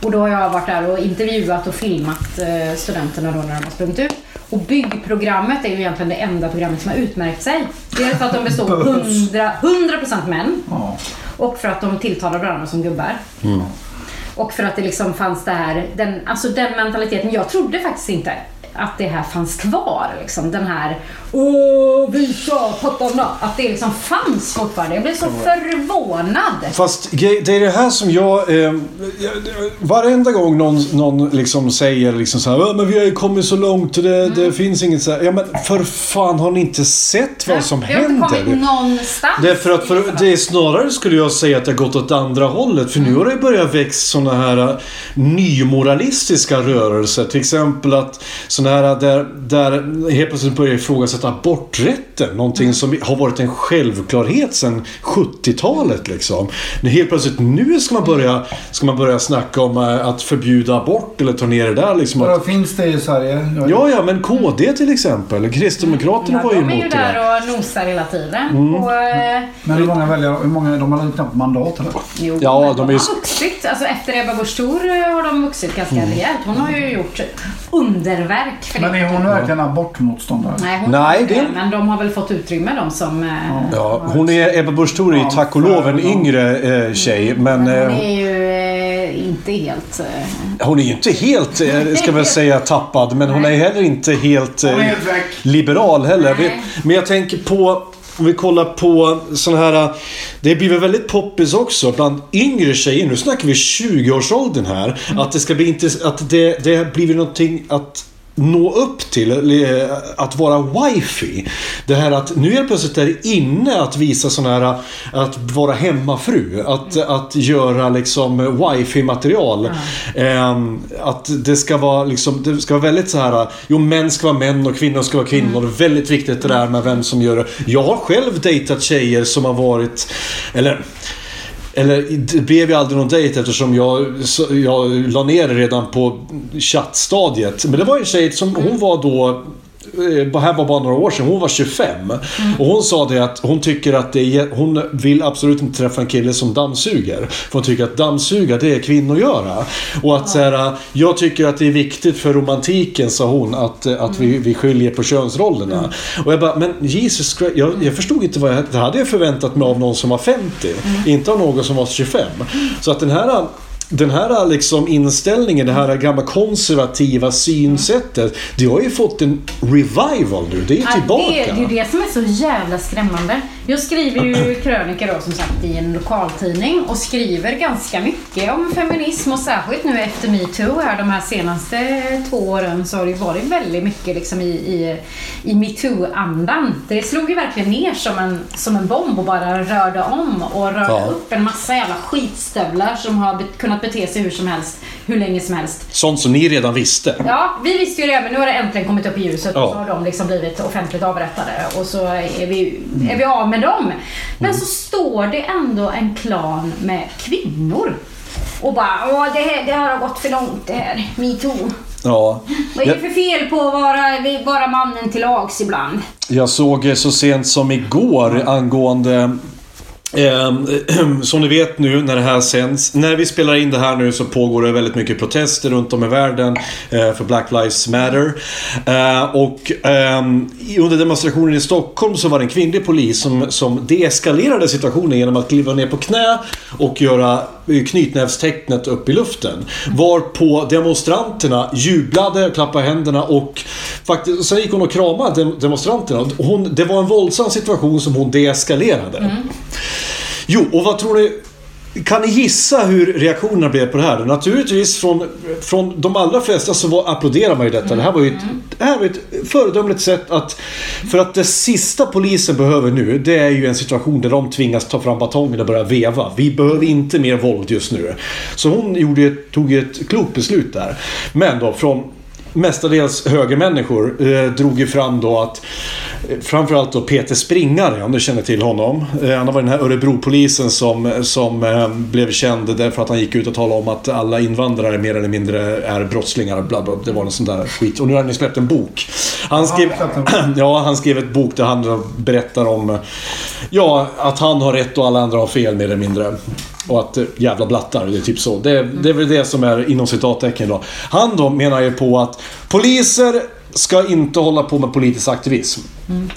Och då har jag varit där och intervjuat och filmat eh, studenterna då när de har sprungit ut. Och byggprogrammet är ju egentligen det enda programmet som har utmärkt sig. Dels för att de består av 100, 100% män.
Ja.
Och för att de tilltalar varandra som gubbar. Och för att det liksom fanns det här, den, alltså den mentaliteten. Jag trodde faktiskt inte att det här fanns kvar. Liksom. Den här Åh, visa pattarna. Att det liksom fanns fortfarande. Jag blev så
Mm.
förvånad.
Fast grej- det är det här som jag... Eh, jag- varenda gång någon, någon liksom säger liksom så här, "Ja, men vi har ju kommit så långt och det,
Mm.
det finns inget så här. Ja men för fan har ni inte sett vad som
jag har
händer?
inte kommit någonstans.
Därför att för, det är snarare skulle jag säga att det har gått åt andra hållet. För nu har det börjat växa sådana här äh, nymoralistiska rörelser. Till exempel att sådana här eh, där, där helt plötsligt börjar ifrågasätta aborträtten. Någonting som har varit en självklarhet sedan 70-talet liksom. Nu helt plötsligt nu ska man börja, ska man börja snacka om äh, att förbjuda abort eller ta ner det där liksom.
Vadå,
Att,
finns det i Sverige? Jag-
ja, ja, men KD till exempel. Kristdemokraterna var ju
Ja, de är ju
emot det där. Mm.
där och nosar hela tiden. Och, eh,
Men hur många väljare? Hur många, de har ju knappt mandat eller?
Jo,
Ja,
men
de är
har
ju- Mm.
vuxit. Alltså, efter Ebba Busch Thor eh, har de vuxit ganska rejält. Hon har ju gjort underverk nätverk för
Men
det.
är hon verkligen abortmotståndare?
Nej, hon
Nej,
är inte
det-
det, men de har väl fått utrymme de som... eh,
Ja, hon är Ebba Busch Thor är ju tack och lov en yngre eh, tjej. Men
Men hon
eh,
är ju eh, inte helt... eh,
hon är ju inte helt, eh, ska väl säga, tappad. Men hon är heller inte helt eh,
Hon är helt väck.
liberal heller.
Nej.
Det- Men jag tänker på, om vi kollar på sådana här... eh, Det blir väl väldigt poppis också bland yngre tjejer. Nu snackar vi 20-årsåldern här.
Mm.
Att det ska bli inte, att det, det blir väl någonting att nå upp till, eller, eh, att vara wifi. Det här att nu är det plötsligt där inne att visa sån här, att vara hemmafru. Att, att göra liksom wifi-material. Ehm, Att det ska vara liksom, det ska vara väldigt så här, jo män ska vara män och kvinnor ska vara kvinnor. Det är väldigt viktigt det där med vem som gör det. Jag har själv dejtat tjejer som har varit, eller eller det blev ju aldrig någon dejt eftersom jag, så- jag la ner det redan på chattstadiet. Men det var en tjej som hon var då eh, det här var bara några år sedan. Hon var 25. Och hon sa det att hon tycker att det är, Hon vill absolut inte träffa en kille som dammsuger. För hon tycker att dammsuga, det är kvinnor göra. Och att så här, jag tycker att det är viktigt för romantiken, sa hon, att, eh, att
Mm.
vi, vi skiljer på könsrollerna. Och jag bara, men Jesus Christ, jag, jag förstod inte vad jag... Det hade jag förväntat mig av någon som var 50.
Mm.
Inte av någon som var 25. Så att den här den här liksom inställningen, det här gamla konservativa synsättet. Det har ju fått en revival nu. Det är ju
Ja, Det,
tillbaka.
det är ju det som är så jävla skrämmande. Jag skriver ju krönikor då som sagt i en lokaltidning och skriver ganska mycket om feminism och särskilt nu efter metoo här de här senaste två åren så har det ju varit väldigt mycket liksom i, i, i metoo-andan. Det slog ju verkligen ner som en, som en bomb och bara rörde om och rörde
Ja.
upp en massa jävla skitstövlar som har be- kunnat bete sig hur som helst, hur länge som helst.
Sånt som ni redan visste.
Ja, vi visste ju det men nu har det äntligen kommit upp i ljuset
Ja.
och så har de liksom blivit offentligt avrättade och så är vi,
Mm.
är vi av med dem. Men så står det ändå en klan med kvinnor och bara Åh, det, här, det här har gått för långt det här, metoo.
Ja.
Vad är det för fel på att vara, vara mannen till lags ibland?
Jag såg eh, så sent som igår angående Eh, som ni vet nu när det här sänds. När vi spelar in det här nu så pågår det väldigt mycket protester runt om i världen eh, för Black Lives Matter. Eh, och ehm, i- under demonstrationen i Stockholm så var det en kvinnlig polis som, som deeskalerade situationen genom att kliva ner på knä och göra eh, knytnävstecknet upp i luften. Varpå demonstranterna jublade, klappade händerna och faktiskt, sen gick hon och kramade dem- demonstranterna. Hon, det var en våldsam situation som hon deeskalerade. Jo, och vad tror ni? Kan ni gissa hur reaktionerna blev på det här? Naturligtvis från, från de allra flesta så var, applåderar man ju detta. Det här var ju ett, det här var ju ett föredömligt sätt att... För att det sista polisen behöver nu, det är ju en situation där de tvingas ta fram batongen och börja veva. Vi behöver inte mer våld just nu. Så hon gjorde, ett- tog ett klokt beslut där. Men då från mestadels högermänniskor eh, drog ju fram då att eh, framförallt då Peter Springare, om du känner till honom. Eh, han var den här Örebropolisen som, som eh, blev känd därför att han gick ut och talade om att alla invandrare mer eller mindre är brottslingar. Bla bla, det var någon sån där skit. Och nu har han ju släppt en bok. Han skrev, ja, han skrev ett bok där han berättar om eh, ja, att han har rätt och alla andra har fel mer eller mindre. Och att eh, jävla blattar, det är typ så. Det, det är väl det som är inom citattecken då. Han då menar ju på att poliser ska inte hålla på med politisk aktivism.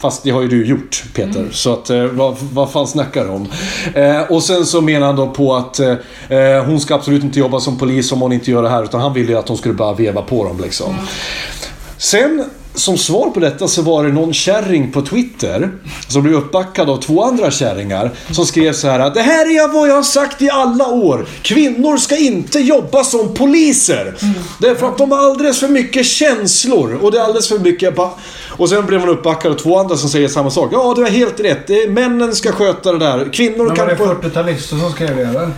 Fast det har ju du gjort Peter, så att, eh, vad, vad fan snackar du om? Eh, och sen så menar han då på att eh, eh, hon ska absolut inte jobba som polis om hon inte gör det här. Utan han ville ju att hon skulle bara veva på dem liksom. Sen som svar på detta så var det någon kärring på Twitter som blev uppbackad av två andra kärringar som skrev så här att det här är vad jag har sagt i alla år. Kvinnor ska inte jobba som poliser. Därför att de har alldeles för mycket känslor och det är alldeles för mycket... ba-" Och sen blev man uppbackad av två andra som säger samma sak. Ja, du har helt rätt. Det är- Männen ska sköta det där. Kvinnor
Men var
kan...
det
På...
40-talister som skrev det eller?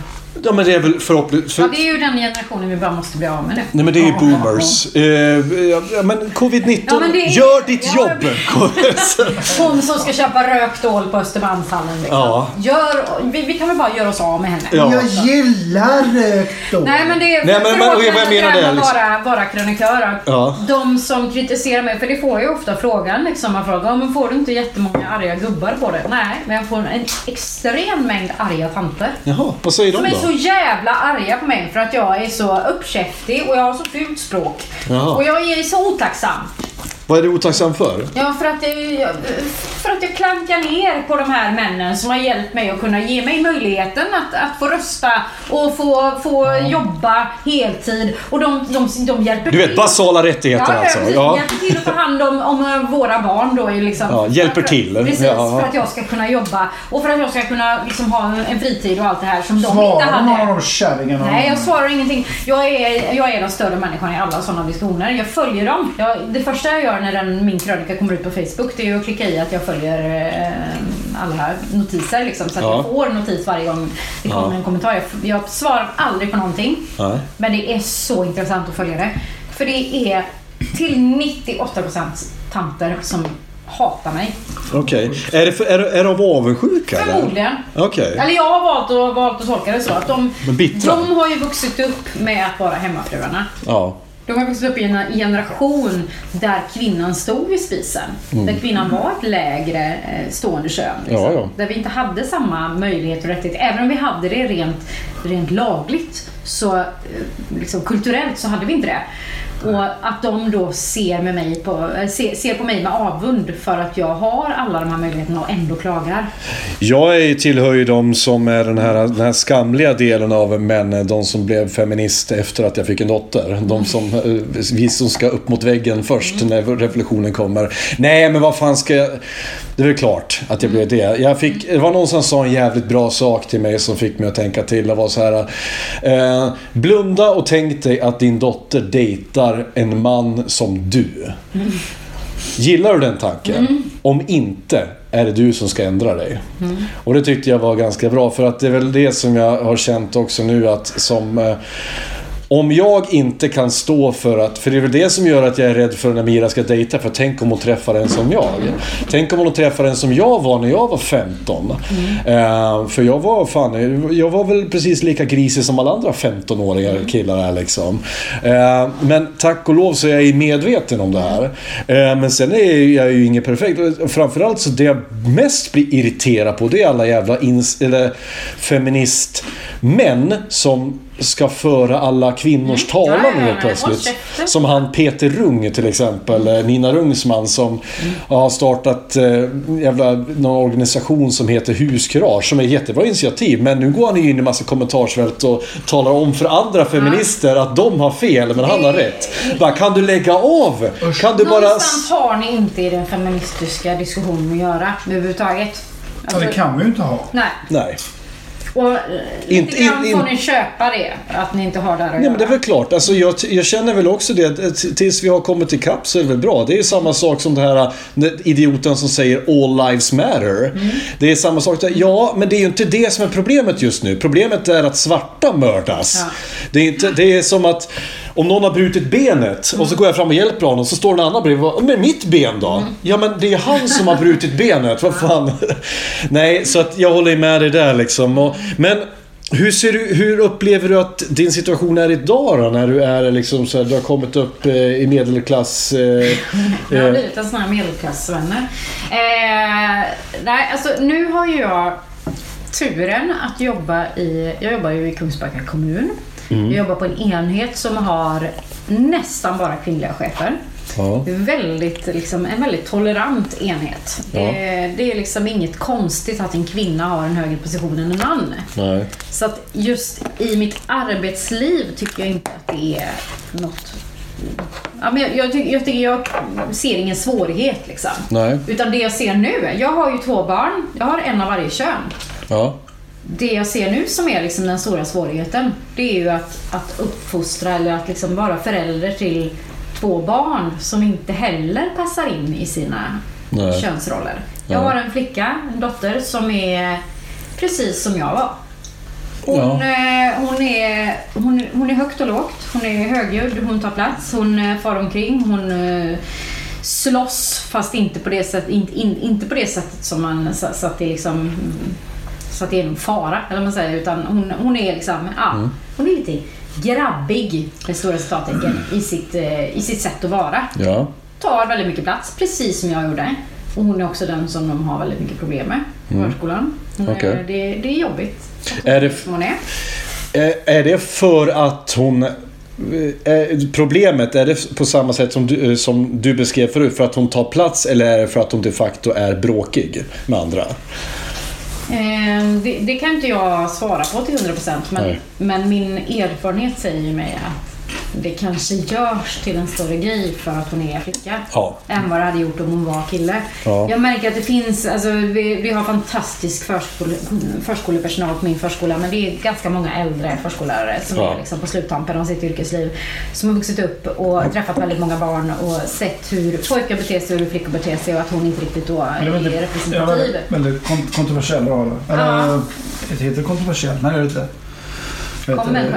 Ja, men det är väl förhoppningsvis...
Ja, det är ju den generationen vi bara måste bli av med nu.
Nej men det är ju boomers. Eh, ja, ja, men covid-19,
Ja, men det är-
gör ditt
Ja,
jobb!
Hon som ska köpa rökt ål på Östermalmshallen. Liksom.
Ja.
Gör, vi, vi kan väl bara göra oss av med henne.
Ja.
Jag gillar rökt då.
Nej men det
Nej,
är...
men- men-
förlåt,
och jag- vad jag
det
menar det är
här med att
liksom-
vara, vara krönikör.
Ja.
De som kritiserar mig, för det får jag ju ofta frågan liksom. Man frågar, "Ja, men får du inte jättemånga arga gubbar på det? Nej, men jag får en extrem mängd arga tanter.
Jaha, vad säger de
Som är
då?
så så jävla arga på mig för att jag är så uppkäftig och jag har så fult språk.
Jaha.
Och jag är så otacksam.
Vad är du otacksam för?
Ja, för att, jag, för att jag klankar ner på de här männen som har hjälpt mig att kunna ge mig möjligheten att, att få rösta och få, få jobba heltid. Och de, de, de hjälper
Du vet,
till.
basala rättigheter
ja,
alltså.
Ja, precis.
Ja.
Hjälper till att ta hand om, om eh, våra barn då. är Liksom.
Ja, hjälper till.
Precis,
Ja.
för att jag ska kunna jobba och för att jag ska kunna liksom, ha en- en fritid och allt det här som de inte
Svarar
hade.
någon av de kärringarna?
Nej, jag svarar ingenting. Jag är, jag är den större människan i alla sådana diskussioner. Jag följer dem. Jag, det första jag gör när den, min krönika kommer ut på Facebook det är ju att klicka i att jag följer eh, alla notiser. Liksom, så att
Ja.
jag får notis varje gång det kommer
Ja.
en kommentar. Jag, jag svarar aldrig på någonting.
Nej.
Men det är så intressant att följa det. För det är till 98% tanter som hatar mig.
Okej. Är, det för- är, det- är det av avundsjuka? eller?
Förmodligen.
Okej.
Eller jag har valt att, valt att tolka det så att de,
Men bittra.
de har ju vuxit upp med att vara hemmafruarna.
Ja.
De har vuxit upp i en generation där kvinnan stod vid spisen. Där kvinnan var ett lägre eh, stående kön.
Mm. Ja, ja.
Där vi inte hade samma möjlighet och rättighet. Även om vi hade det rent, rent lagligt, så eh, liksom, kulturellt så hade vi inte det. Och att de då ser, med mig på, eh, ser, ser på mig med avund för att jag har alla de här möjligheterna och ändå klagar.
Jag är, tillhör ju de som är den här, den här skamliga delen av männen. De som blev feminist efter att jag fick en dotter. De som, eh, vi som ska upp mot väggen först när revolutionen kommer. Nej, men vad fan ska jag... Det är väl klart att jag blev det. Jag fick, det var någon som sa en jävligt bra sak till mig som fick mig att tänka till. Det var så här. Eh, blunda och tänk dig att din dotter dejtar en man som du. Gillar du den tanken? Om inte, är det du som ska ändra dig. Och det tyckte jag var ganska bra, för att det är väl det som jag har känt också nu att som... Eh, om jag inte kan stå för att... För det är väl det som gör att jag är rädd för när Mira ska dejta, för tänk om hon träffar en som jag. Tänk om hon träffar en som jag var när jag var 15. Eh, för jag var fan, jag var väl precis lika grisig som alla andra 15-åriga killar här liksom. Eh, men tack och lov så är jag ju medveten om det här. Eh, men sen är jag ju ingen perfekt. Och Framförallt så det jag mest blir irriterad på det är alla jävla ins- eller feministmän som ska föra alla kvinnors
Ja, ja,
talan
ja,
helt
men håll
plötsligt.
käften.
Som han Peter Rung till exempel, eh, Nina Rungs man
Mm.
som har startat eh, jävla, någon organisation som heter Huskurage som är ett jättebra initiativ. Men nu går han ju in i massa kommentarsfält och talar om för andra feminister att de har fel men han har rätt. Bara, kan du lägga av? Kan du bara...
Någonstans har ni inte i den feministiska diskussionen att göra överhuvudtaget. Alltså,
Ja, det kan vi ju inte ha.
Nej,
Nej.
och eh,
Inte-
lite grann
in- in-
får ni köpa det, att ni inte har där att
Nej
göra.
men det är väl klart. Alltså, jag, jag känner väl också det att eh, t- tills vi har kommit ikapp så är det väl bra. Det är ju samma sak som det här äh, den idioten som säger “All lives matter”.
Mm.
Det är samma sak där. Ja, men det är ju inte det som är problemet just nu. Problemet är att svarta mördas.
Ja.
Det, är inte, det är som att om någon har brutit benet och
Mm.
så går jag fram och hjälper honom så står en annan bredvid och bara, “Men mitt ben då?” Ja men det är han som har brutit benet, vad fan. Nej, så att jag håller med dig där liksom. Och, men hur, ser du, hur upplever du att din situation är idag då? När du, är liksom så här, du har kommit upp eh, i medelklass... Eh,
Jag har
eh,
blivit en sån här medelklassvänner. Eh, nej, alltså nu har ju jag turen att jobba i, jag jobbar ju i Kungsbacka kommun.
Mm.
Jag jobbar på en enhet som har nästan bara kvinnliga chefer.
Ja.
Väldigt, liksom, en väldigt tolerant enhet.
Ja.
Det, det är liksom inget konstigt att en kvinna har en högre position än en man.
nej.
Så att just i mitt arbetsliv tycker jag inte att det är något... Ja, men jag, jag, tycker, jag, tycker jag ser ingen svårighet liksom.
Nej.
Utan det jag ser nu, jag har ju två barn, jag har en av varje kön.
Ja.
Det jag ser nu som är liksom den stora svårigheten, det är ju att, att uppfostra eller att liksom vara förälder till två barn som inte heller passar in i sina
Nej.
könsroller. Jag
Nej.
har en flicka, en dotter, som är precis som jag var. Hon, eh, hon, är, hon, hon är högt och lågt. Hon är högljudd, hon tar plats, hon eh, far omkring, hon eh, slåss fast inte på det, sätt, in, in, inte på det sättet som man så, så att det liksom mm, så att det är någon fara eller vad man säger utan hon, hon är liksom ja, hon är lite grabbig med stora citattecken i sitt, eh, i sitt sätt att vara
Ja.
tar väldigt mycket plats, precis som jag gjorde. Och hon är också den som de har väldigt mycket problem med i förskolan. Hon är-
Okej.
Det, det är jobbigt.
Är det,
Som hon är.
Eh, Är det för att hon... eh, är- Problemet, är det på samma sätt som du, eh, som du beskrev förut? För att hon tar plats eller är det för att hon de facto är bråkig med andra?
Eh, det, det kan inte jag svara på till 100 procent. Men,
Nej.
men min erfarenhet säger ju mig att det kanske görs till en större grej för att hon är flicka.
Ja.
Än vad det hade gjort om hon var kille.
Ja.
Jag märker att det finns, alltså, vi, vi har fantastisk förskole, förskolepersonal på min förskola. Men det är ganska många äldre förskollärare som
Ja.
är liksom på sluttampen av sitt yrkesliv. Som har vuxit upp och träffat väldigt många barn och sett hur pojkar beter sig och hur flickor beter sig. Och att hon inte riktigt då är
Det var inte- det var
representativ.
väldigt, väldigt kon- kontroversiell roll. Eller,
Ja.
det heter kontroversiell? Nej, det heter det inte.
Konventionell,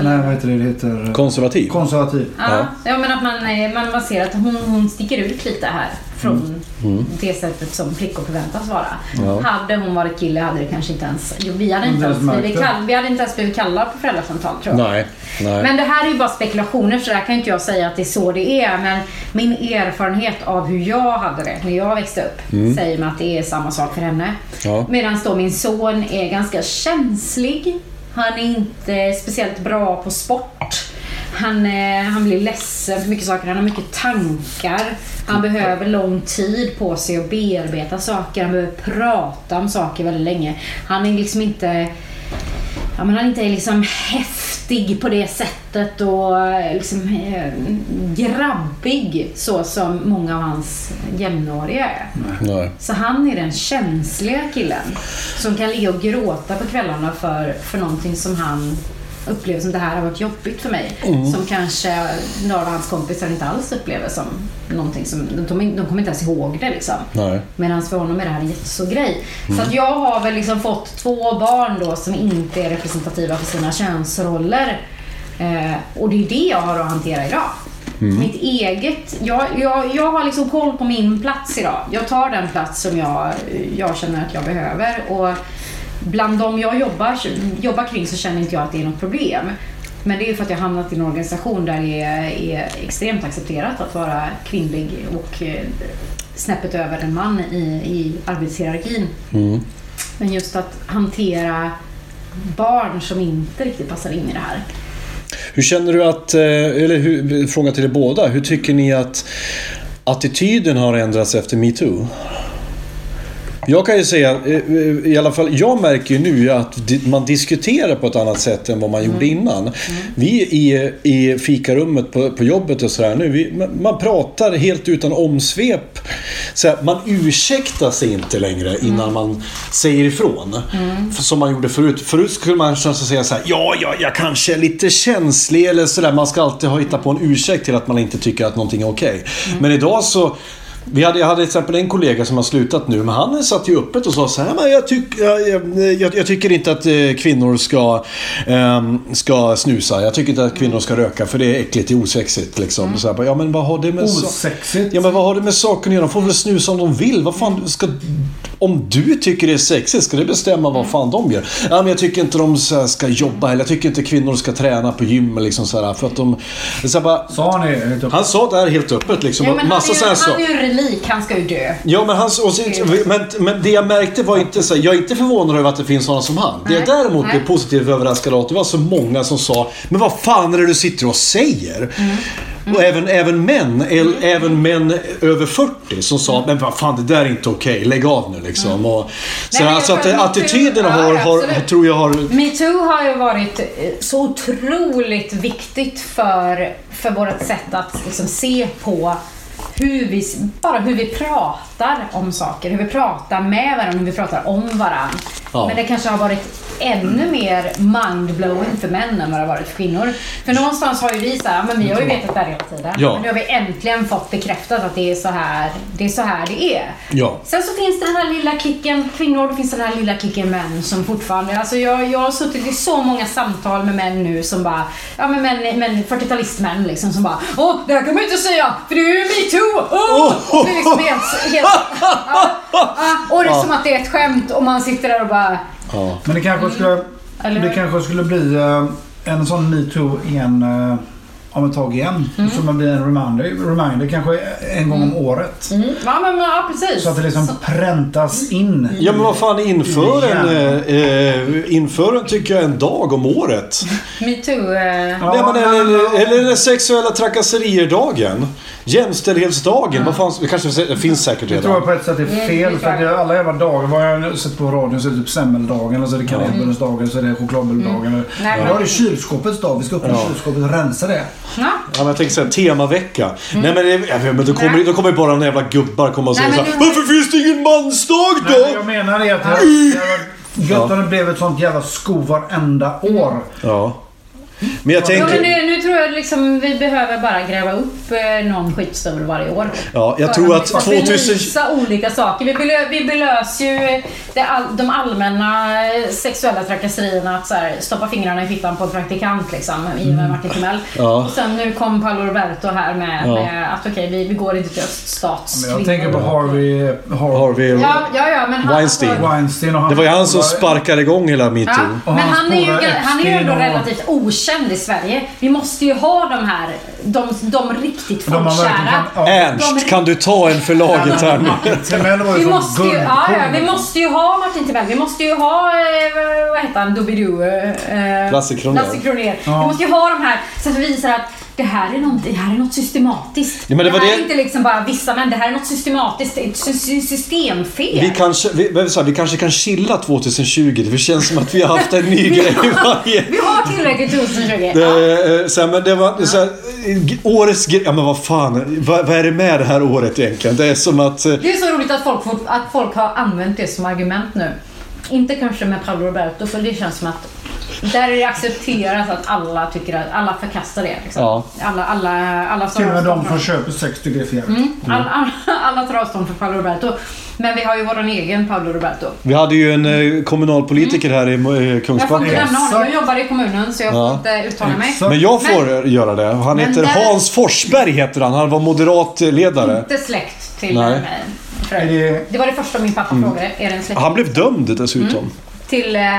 eller?
Nej, vad heter det? Det heter...
Konservativ?
Konservativ.
Ja, ja men att man, eh, man, man ser att hon, hon sticker ut lite här från
Mm.
det sättet som flickor förväntas vara. Hade hon varit kille hade det kanske inte ens... Jo, vi, hade inte
Inte
ens
ens märkt
blivit
det.
kall, vi hade inte ens blivit kallade på föräldrasamtal tror jag.
Nej. nej.
Men det här är ju bara spekulationer så där kan inte jag säga att det är så det är. Men min erfarenhet av hur jag hade det när jag växte upp säger mig att det är samma sak för henne.
Mm. Ja.
Medan då min son är ganska känslig. Han är inte speciellt bra på sport. Han, eh, han blir ledsen för mycket saker. Han har mycket tankar. Han behöver lång tid på sig att bearbeta saker. Han behöver prata om saker väldigt länge. Han är liksom inte ja, men han inte är liksom häftig på det sättet och eh, liksom eh, grabbig så som många av hans jämnåriga är.
nej.
Så han är den känsliga killen som kan ligga och gråta på kvällarna för, för någonting som han upplever som det här har varit jobbigt för mig. Som kanske några av hans kompisar inte alls upplever som någonting som... De, de kommer inte ens ihåg det liksom.
Nej.
Medan för honom är det här en jättestor grej. Så att jag har väl liksom fått två barn då som inte är representativa för sina könsroller. Eh, och det är det jag har att hantera idag. Mitt eget, jag, jag, jag har liksom koll på min plats idag. Jag tar den plats som jag, jag känner att jag behöver. Och bland de jag jobbar, jobbar kring så känner inte jag att det är något problem. Men det är ju för att jag har hamnat i en organisation där det är, är extremt accepterat att vara kvinnlig och eh, snäppet över en man i, i arbetshierarkin.
Mm.
Men just att hantera barn som inte riktigt passar in i det här.
Hur känner du att, eh, eller hur, fråga till er båda, hur tycker ni att attityden har ändrats efter metoo? Jag kan ju säga, eh, eh, i alla fall jag märker ju nu att di- man diskuterar på ett annat sätt än vad man gjorde innan. Vi i, i fikarummet på, på jobbet och sådär nu, vi, man- man pratar helt utan omsvep. Så här, man ursäktar sig inte längre innan man säger ifrån. F- Som man gjorde förut. Förut skulle man kanske säga så här, ja, ja, jag kanske är lite känslig eller sådär. Man ska alltid ha hittat på en ursäkt till att man inte tycker att någonting är okej. Men idag så vi hade, jag hade till exempel en kollega som har slutat nu, men han satt ju öppet och sa så här, men jag, tyck, jag, jag, jag tycker inte att eh, kvinnor ska, ehm, ska snusa. Jag tycker inte att kvinnor ska röka för det är äckligt, det är osexigt. Liksom.
Mm.
Så här, bara, ja, men vad har det med så-
Osexigt.
Ja, men vad har det med saken att göra? De får väl snusa om de vill. Vad fan ska... Om du tycker det är sexigt, ska det bestämma vad fan de gör? Ja, men jag tycker inte de så här, ska jobba eller jag tycker inte kvinnor ska träna på gym liksom, så här, för att de... Så här, bara,
Sa ni helt upp?
han sa det här helt öppet liksom.
Ja, men
massa så
han,
här
är ju,
saker.
han är ju en relik, han ska ju dö.
Ja, men, hans, och så, men, men det jag märkte var inte så här, Jag är inte förvånad över att det finns sådana som han. Det jag
Nej,
däremot
nej.
blev positivt överraskad av att det var så många som sa Men vad fan är det du sitter och säger?
Mm.
Och även, även män, el, även män över 40 som sa Men vad fan, det där är inte okej. Lägg av nu liksom. Och, så
Mm. Nej, men
alltså
jag
att
tror att-
attityden
ja,
har, har,
absolut.
tror jag har...
Metoo har ju varit eh, så otroligt viktigt för, för vårt sätt att liksom se på hur vi, s- bara hur vi pratar om saker, hur vi pratar med varandra, hur vi pratar om varandra.
Ja.
Men det kanske har varit ännu mer mindblowing för män än vad det har varit för kvinnor. För någonstans har ju vi så här, men vi har ju vetat det här hela tiden.
Ja.
Men nu har vi äntligen fått bekräftat att det är så här det är. Så här det är.
Ja.
Sen så finns det den här lilla klicken kvinnor och det finns den här lilla klicken män som fortfarande... Alltså jag, jag har suttit i så många samtal med män nu som bara... Ja men män, män 40-talistmän liksom som bara Åh, det här kan man ju inte säga för det är ju metoo! Åh! Och Det är liksom helt... helt ja, ja, och det är som att det är ett skämt och man sitter där och bara...
Ja.
Men det kanske skulle,
Eller-
det kanske skulle bli eh, en sån metoo i en eh, om ett tag igen.
Mm.
Så man blir en reminder, reminder kanske en gång om året.
Ja, men ja, precis.
Så att det liksom präntas in.
Ja men vad fan, inför
Mm.
en, eh, eh, inför en tycker jag en dag om året.
Metoo. Eh,
Ja,
Nej, men,
men-
eller, eller den sexuella trakasserier-dagen. Jämställdhetsdagen. Vad fan, det kanske det finns säkert
Jag tror jag
redan.
på ett sätt är fel. För att det är alla jävla dagar. Vad jag har sett på radion så är det typ semmeldagen, och så är det kanelbullens dag, och så är det chokladbulldagen. Mm.
Nej,
Ja.
men-
Då är det kylskåpets dag. Vi ska öppna kylskåpet och rensa det.
ja.
Ja, men jag tänker säga temavecka. Nej men, det- ja, men då, kommer,
Nej.
då kommer bara några jävla gubbar komma och säga
Nej, men
såhär
du-
Varför finns det ingen mansdag
Nej, men
då?
jag menar det att det här- det här var gött om det blev ett sånt jävla sko varenda år.
Ja. Men jag
Jo, men
tänker...
nu, nu tror jag liksom vi behöver bara gräva upp eh, någon skitstövel varje år.
Ja, jag
För
tror att
liksom
2000
Belysa olika saker. Vi, belö, vi belös ju det all, de allmänna eh, sexuella trakasserierna. Att så här, stoppa fingrarna i fickan på en praktikant liksom, i och med Martin Timell.
Mm. Ja.
Och sen nu kom Paolo Roberto här med,
Ja.
med att okej, vi, vi går inte till
Men
öststatskvinnor.
jag tänker på Harvey, Harvey
Harvey
Ja, ja, ja, men han,
Weinstein.
Weinstein och han.
Det var ju han som sparkade igång hela metoo.
Ja,
Och
men
hans
han är, ju,
polare
ga- han är ju ändå
Epstein och-
relativt okänd i Sverige. Vi måste ju ha de här, de, de riktigt
De har
folkkära.
verkligen- ja.
De-
Ernst, kan du ta en för laget här nu?
Timell var
Vi
ju som
måste, ju, ja, ja, vi
guldkorn.
måste ju ha Martin Timell, vi måste ju ha, eh, vad heter han, Doobidoo? Eh,
Lasse Kronér.
Lasse Kronér. Vi måste ju ha de här så att vi visar att det här är något, det här är något systematiskt.
Ja, men det var
här
det-
är inte liksom bara vissa män, det här är något systematiskt, det är ett sy- sy- systemfel.
Vi kanske, vi, vad är det så här, vi kanske kan chilla 2020. Det känns som att vi har haft en ny grej varje...
Vi har tillräckligt 2020.
Det,
Ja.
eh, så här, men det var så här, g- årets grej. Ja men vad fan. Vad, vad är det med det här året egentligen? Det är som att... eh,
Det är så roligt att folk, fort- att folk har använt det som argument nu. Inte kanske med Paolo Roberto, för det känns som att där är det accepterat att alla tycker att alla förkastar det. Liksom.
Ja.
Alla, alla, alla som
Till och med
har
de som
avstånd
köper sex tycker det är för jävligt.
från- alla, alla, alla tar avstånd från Paolo Roberto. Men vi har ju vår egen Paolo Roberto.
Vi hade ju en eh, kommunalpolitiker här i eh,
Jag får inte
Kungsbacka.
nämna honom. Jag jobbar i kommunen så jag får
Ja.
inte uttala mig.
Exakt.
Men jag får eh, göra det. Han
Men
heter
där-
Hans Forsberg heter han. Han var moderatledare.
Inte släkt till
Nej. Mm.
mig. för övrigt.
Är det-
Det var det första min pappa frågade. Är det en släkt?
Han blev dömd dessutom.
Till eh,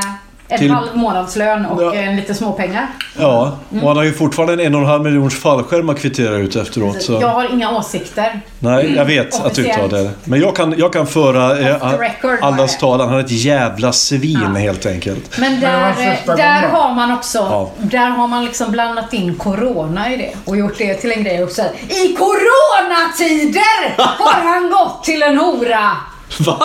en
Till-
halv månadslön och
Ja.
eh, lite småpengar.
Ja, och han har ju fortfarande en en och en halv miljons fallskärm att kvittera ut efteråt. Så.
Jag har inga åsikter.
Nej, jag vet att du inte har det. Men jag kan, jag kan föra eh,
Off the record var
allas
det.
talan. Han är ett jävla svin helt enkelt.
Men
det var
där, eh,
första
där
gången.
har man också
Ja.
där har man liksom blandat in corona i det och gjort det till en grej också. I coronatider har han gått till en hora!
Va?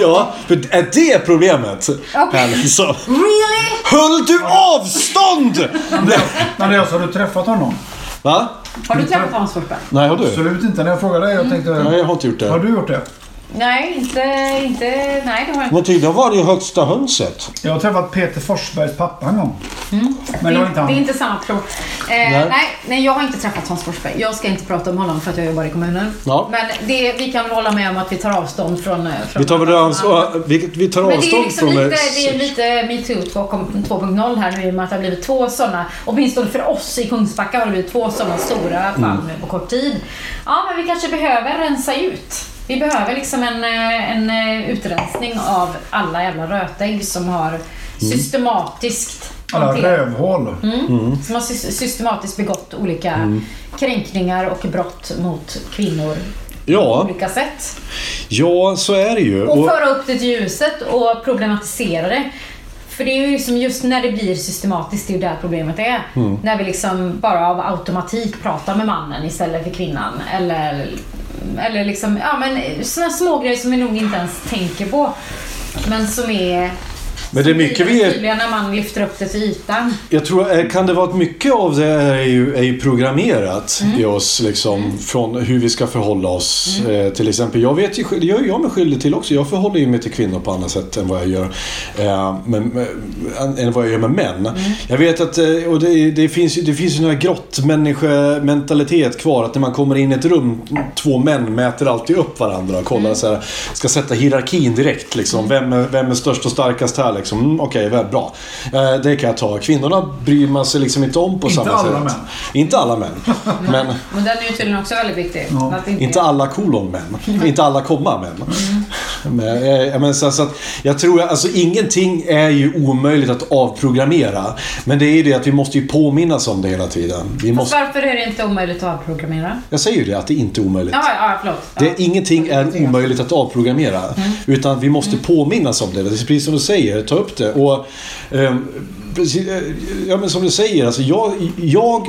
Ja, för är det problemet? Här, så.
Really?
Höll du avstånd? Nej.
Men det är alltså, har du träffat honom?
Va?
Har du träffat Hans Forsberg?
Nej, har du?
Absolut inte. När jag frågade
Mm.
dig, jag tänkte...
Nej, jag har inte gjort
Har
det.
du gjort det?
Nej, inte... inte nej, det har jag inte.
Men tydligen var det ju högsta hönset.
Jag har träffat Peter Forsbergs pappa en gång. Men det var inte
Mm. det,
han.
det är inte samma person. Eh,
Nej.
nej, nej, jag har inte träffat Hans Forsberg. Jag ska inte prata om honom för att jag jobbar i kommunen.
Ja.
Men det, vi kan väl hålla med om att vi tar avstånd från... eh, från
Vi tar, väl ansvar, vi, vi tar
Men det är
avstånd
liksom
från...
lite, det är lite metoo 2.0 här nu i och med att det har blivit två sådana, åtminstone för oss i Kungsbacka har det blivit två sådana stora fall nu på kort tid. Ja, men vi kanske behöver rensa ut. Vi behöver liksom en, eh, en eh, utrensning av alla jävla rötägg som har systematiskt
Alla
hanterat-
rövhål.
Mm. som har sy- systematiskt begått olika kränkningar och brott mot kvinnor på
Ja,
olika sätt.
ja, så är det ju.
Och
Och-
föra upp det till ljuset och problematisera det. För det är ju liksom just när det blir systematiskt, det är ju där problemet är.
Mm.
När vi liksom bara av automatik pratar med mannen istället för kvinnan. Eller, eller liksom, ja men sådana små grejer som vi nog inte ens tänker på. Men som är
Men det är mycket vi är
tydliga när man lyfter upp det till ytan.
Jag tror, eh, kan det vara att mycket av det är ju, är ju programmerat i oss liksom från hur vi ska förhålla oss. Eh, till exempel, jag vet ju, själv- det gör ju jag mig skyldig till också. Jag förhåller ju mig till kvinnor på annat sätt än vad jag gör, eh, men, men- än vad jag gör med män. Jag vet att, eh, och det, det finns ju, det finns ju några grottmänniskomentalitet kvar. Att när man kommer in i ett rum, två män mäter alltid upp varandra och kollar
Mm.
så här, ska sätta hierarkin direkt liksom. Vem är, vem är störst och starkast här liksom? Mm, Okej, väl bra. Eh, det kan jag ta. Kvinnorna bryr man sig liksom inte om på
Inte
samma
alla
sätt.
män.
Inte alla män. Men
Men den är ju tydligen också väldigt viktig. Att det
inte alla kolon män. inte alla komma män. Men, eh, jag, men, så, så att, jag tror att alltså, ingenting är ju omöjligt att avprogrammera. Men det är ju det att vi måste ju påminnas om det hela tiden. Vi
Fast
måste,
varför är det inte omöjligt att avprogrammera?
jag säger ju det, att det inte är omöjligt.
Ja, ja, förlåt. Ja.
Det, Ingenting är omöjligt att avprogrammera. Utan vi måste påminnas om det. Det är precis som du säger, ta upp det. Och, ehm, precis, eh, ja, men som du säger, alltså jag, jag,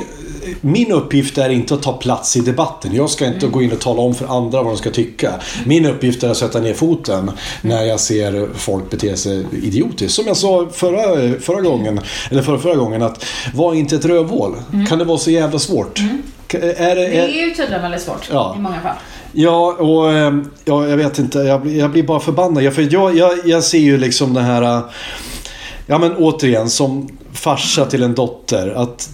min uppgift är inte att ta plats i debatten. Jag ska inte gå in och tala om för andra vad de ska tycka. Min uppgift är att sätta ner foten när jag ser folk bete sig idiotiskt. Som jag sa förra, förra gången, eller förra, förra gången, att var inte ett rövhål. Kan det vara så jävla svårt? Ka- Är Mm. det,
Det
är,
är ju tydligen väldigt svårt
Ja.
i många fall.
Ja, och eh, ja, jag vet inte. Jag, blir- jag blir bara förbannad. Jag, för jag, jag, jag ser ju liksom den här... eh, Ja, men återigen, som farsa till en dotter. Att,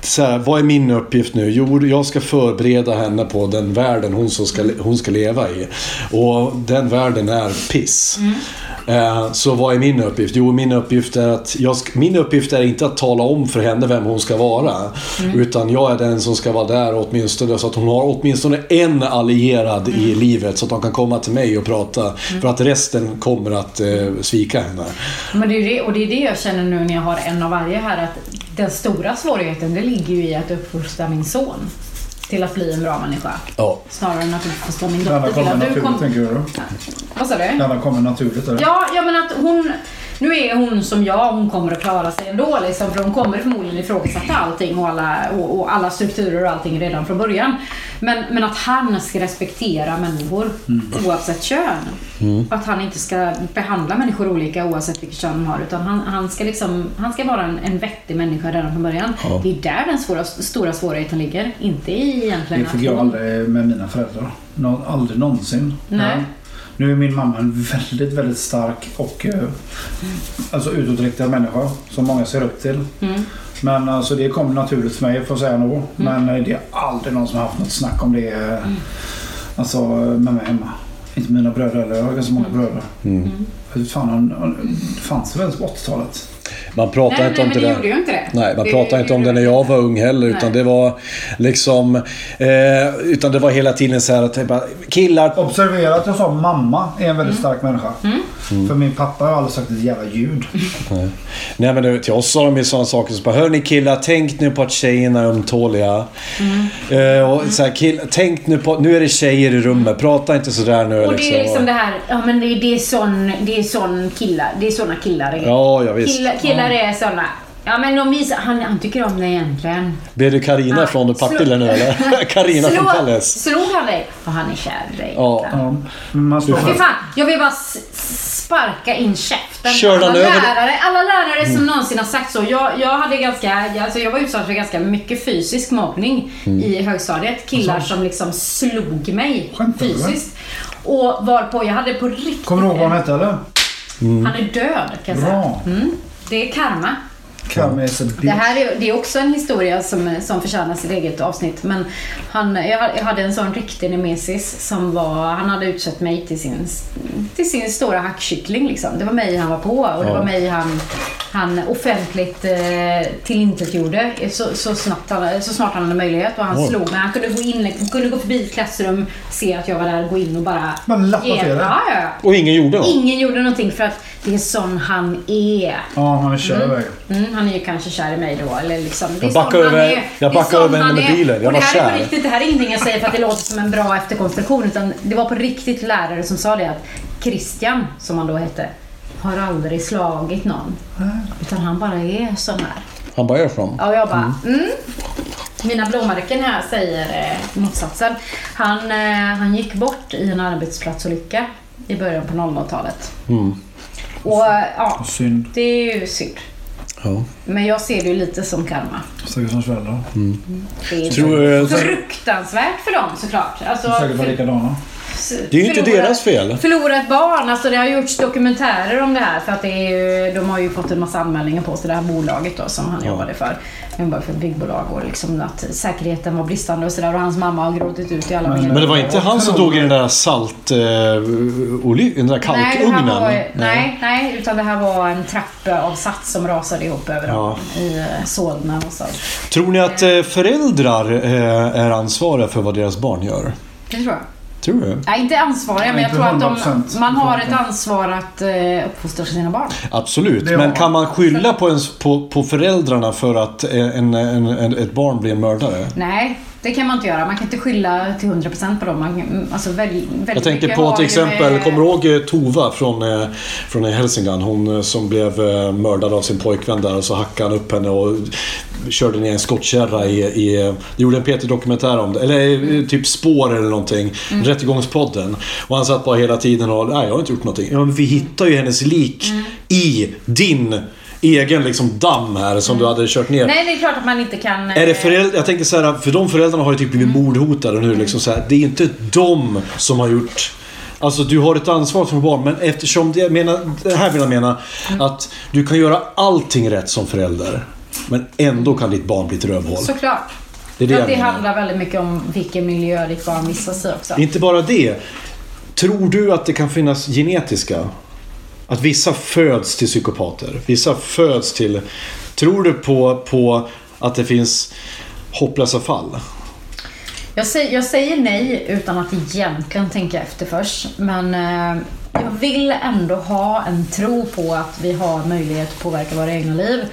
så här, vad är min uppgift nu? Jo, jag ska förbereda henne på den världen hon, som ska, hon ska leva i. Och den världen är piss.
Mm.
Eh, Så vad är min uppgift? Jo, min uppgift är att jag ska, min uppgift är inte att tala om för henne vem hon ska vara.
Mm.
Utan jag är den som ska vara där åtminstone så att hon har åtminstone en allierad
Mm.
i livet så att de kan komma till mig och prata. För att resten kommer att eh, svika henne.
Men det är ju det, och det är det jag känner nu när jag har en av varje här att den stora svårigheten det ligger ju i att uppfostra min son till att bli en bra människa.
Ja.
Snarare än att uppfostra min
Det andra
dotter till
kommer
att du
naturligt,
kom...
tänker du? då?
Vad sa du?
Det andra kommer naturligt, eller?
Ja, ja men att hon... Nu är hon som jag, hon kommer att klara sig ändå liksom, för hon kommer förmodligen ifrågasätta allting och alla, och, och alla strukturer och allting redan från början. Men, men att han ska respektera människor
Mm.
oavsett kön. Att han inte ska behandla människor olika oavsett vilket kön de har. Utan han, han, ska, liksom, han ska vara en, en vettig människa redan från början.
Ja.
Det är där den svåra, stora svårigheten ligger. Inte i egentligen
Det fick jag aldrig eh, med mina föräldrar. Nå- aldrig någonsin.
Nej.
Ja. Nu är min mamma en väldigt, väldigt stark och eh, alltså utåtriktad människa som många ser upp till. Men alltså det kom naturligt för mig får jag säga nog. Men eh, det är aldrig någon som har haft något snack om det eh, alltså, med mig hemma. Inte mina bröder heller. Jag har ganska många bröder. Hur Fan, han- han- det fanns väl ens på 80-talet?
Man pratar
Nej,
inte
nej,
om
men det
det
gjorde ju inte det.
Nej, man
Det
pratar inte om det när jag var ung heller. Utan
Nej.
det var liksom... Eh, utan det var hela tiden så här att typ, bara, killar...
Observera att jag sa mamma är en väldigt stark människa. För min pappa har aldrig sagt ett jävla ljud.
Nej men du, till oss sa de ju sådana saker som bara Hör ni killar, tänk nu på att tjejerna är ömtåliga.
Mm.
Eh, och så här, kill, tänk nu på Nu är det tjejer i rummet, prata inte sådär nu.
Och det är liksom det här, ja men det är, det är sån, det är sån killar, det är såna killar är.
Ja, ja visst.
Killar, killar är såna. Ja men de visar, han, han tycker om dig egentligen.
Blev du Karina
Nej,
från
slå-
Partille nu eller? Karina från Palles.
Slog han dig? Och han är kär i dig.
Ja.
Ja, men man står
Fy fan, jag vill bara s- s- sparka in käften.
Kör
alla,
den över Mm. dig.
lärare, alla lärare som någonsin har sagt så. Jag, jag, hade ganska, jag- alltså jag var utsatt för ganska mycket fysisk mobbning
Mm.
i högstadiet. Killar
Alltså.
som liksom slog mig
Skämtar du, va?
fysiskt. Och varpå jag hade på riktigt...
Kommer du ihåg vad han hette eller?
Han är död kan jag säga.
Bra.
Mm. Det är karma.
Kamme is a bitch.
Det här är, det är också en historia som, som förtjänar sitt eget avsnitt. Men han, jag jag hade en sån riktig nemesis som var, han hade utsett mig till sin, till sin stora hackkyckling. Liksom. Det var mig han var på och det var mig han, han offentligt eh, tillintetgjorde så, så, snabbt han, så snart han hade möjlighet. Och han slog mig. Han kunde gå, in, han kunde gå förbi ett klassrum, se att jag var där, gå in och bara...
Bara lappa till det.
Ja, ja, ja.
Och ingen gjorde något.
Ingen gjorde någonting för att det är sån han är.
Ja, han är kär mm.
Mm, han är ju kanske kär i mig då. Eller liksom, det
Jag
är
backar
sån han
över-
är.
jag
Det är
backar
sån
över henne
han
med
är.
bilen. Jag var
Och det här är
kär.
på riktigt, det här är ingenting jag säger för att det låter som en bra efterkonstruktion. Utan det var på riktigt lärare som sa det att Christian, som han då hette, har aldrig slagit någon.
Äh.
Utan han bara är sån här.
Han bara, är från.
Ja, och jag bara, mm. Mina blåmärken här säger eh, motsatsen. Han, eh, han gick bort i en arbetsplatsolycka i början på 00-talet.
Mm.
Och eh, ja,
Synd.
det är ju synd.
Ja.
Men jag ser det ju lite som karma.
Stackars hans
Mm.
föräldrar.
Det är
Tror, eh,
fruktansvärt för dem såklart. Alltså,
Säkert var likadana.
Det är ju inte
förlora-
deras fel.
Förlora ett barn, alltså det har gjorts dokumentärer om det här för att det är ju, de har ju fått en massa anmälningar på sig, det här bolaget då som han jobbade för. Han jobbade för ett byggbolag och liksom att säkerheten var bristande och sådär och hans mamma har gråtit ut i alla medier.
Men det var inte han som dog i den där salt... Eh, oly- den där
Nej, det här
kalkugnen?
var, nej, nej, utan det här var en trappeavsats som rasade ihop över
Ja.
dem i eh, Solna någonstans.
Tror ni att eh, föräldrar eh, är ansvariga för vad deras barn gör?
Det tror jag.
Tror du?
Nej, inte ansvariga, men jag
Inte
tror att de,
100%
man har ett
befolkning.
ansvar att eh, uppfostra sina barn.
Absolut.
Det
Men
var-
kan man skylla på, ens, på, på föräldrarna för att eh, en, en, en, ett barn blir en mördare?
Nej, det kan man inte göra. Man kan inte skylla till 100% på dem. Man, mm, alltså, väl, väldigt
Jag tänker
mycket
på
har
till
ju
exempel,
med-
kommer du ihåg eh, Tova från, eh, från Hälsingland? Hon eh, som blev eh, mördad av sin pojkvän där och så hackade han upp henne och körde ner en skottkärra i... i det gjorde en Peter-dokumentär om det, eller eh, typ Spår eller någonting.
Mm.
Rättegångspodden. Och han satt bara hela tiden och, nej jag har inte gjort någonting. Ja men vi hittar ju hennes lik
Mm.
i din egen liksom damm här
Mm.
som du hade kört ner.
Nej, det är klart att man inte kan...
Är det
eh, Mm.
föräldrar, jag tänker så här, för de föräldrarna har ju typ blivit mordhotade nu. Liksom så här, det är inte de som har gjort... Alltså du har ett ansvar som barn, men eftersom det, jag menar, det här vill jag mena.
Mm.
Att du kan göra allting rätt som förälder. Men ändå kan ditt barn bli ett rövhål.
Såklart.
Det är det
För
jag
att det
menar.
handlar väldigt mycket om vilken miljö ditt barn vistas i också.
Inte bara det. Tror du att det kan finnas genetiska? Att vissa föds till psykopater. Vissa föds till... Tror du på, på att det finns hopplösa fall?
Jag säger, jag säger nej utan att egentligen tänka efter först. Men eh, jag vill ändå ha en tro på att vi har möjlighet att påverka våra egna liv.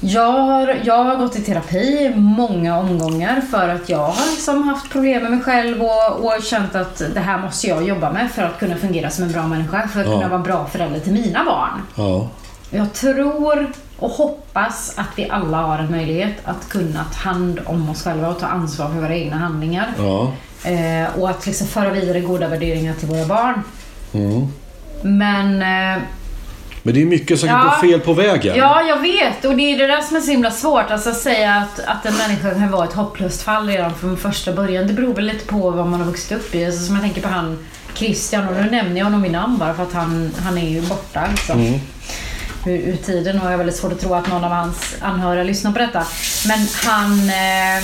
Jag, har, jag har gått i terapi i många omgångar för att jag har liksom haft problem med mig själv och, och känt att det här måste jag jobba med för att kunna fungera som en bra människa. För att
Ja.
kunna vara en bra förälder till mina barn.
Ja.
Jag tror och hoppas att vi alla har en möjlighet att kunna ta hand om oss själva och ta ansvar för våra egna handlingar.
Ja.
Eh, och att liksom föra vidare goda värderingar till våra barn. Men... Eh,
Men det är mycket som kan
Ja.
gå fel på vägen.
ja, jag vet. Och det är det där som är så himla svårt. Alltså att säga att, att en människa kan vara ett hopplöst fall redan från första början. Det beror väl lite på vad man har vuxit upp i. Alltså, som jag tänker på han Christian. Och nu nämner jag honom i namn bara för att han, han är ju borta. Liksom.
Mm.
Ur, ur tiden och jag har väldigt svårt att tro att någon av hans anhöriga lyssnar på detta. Men han... Eh,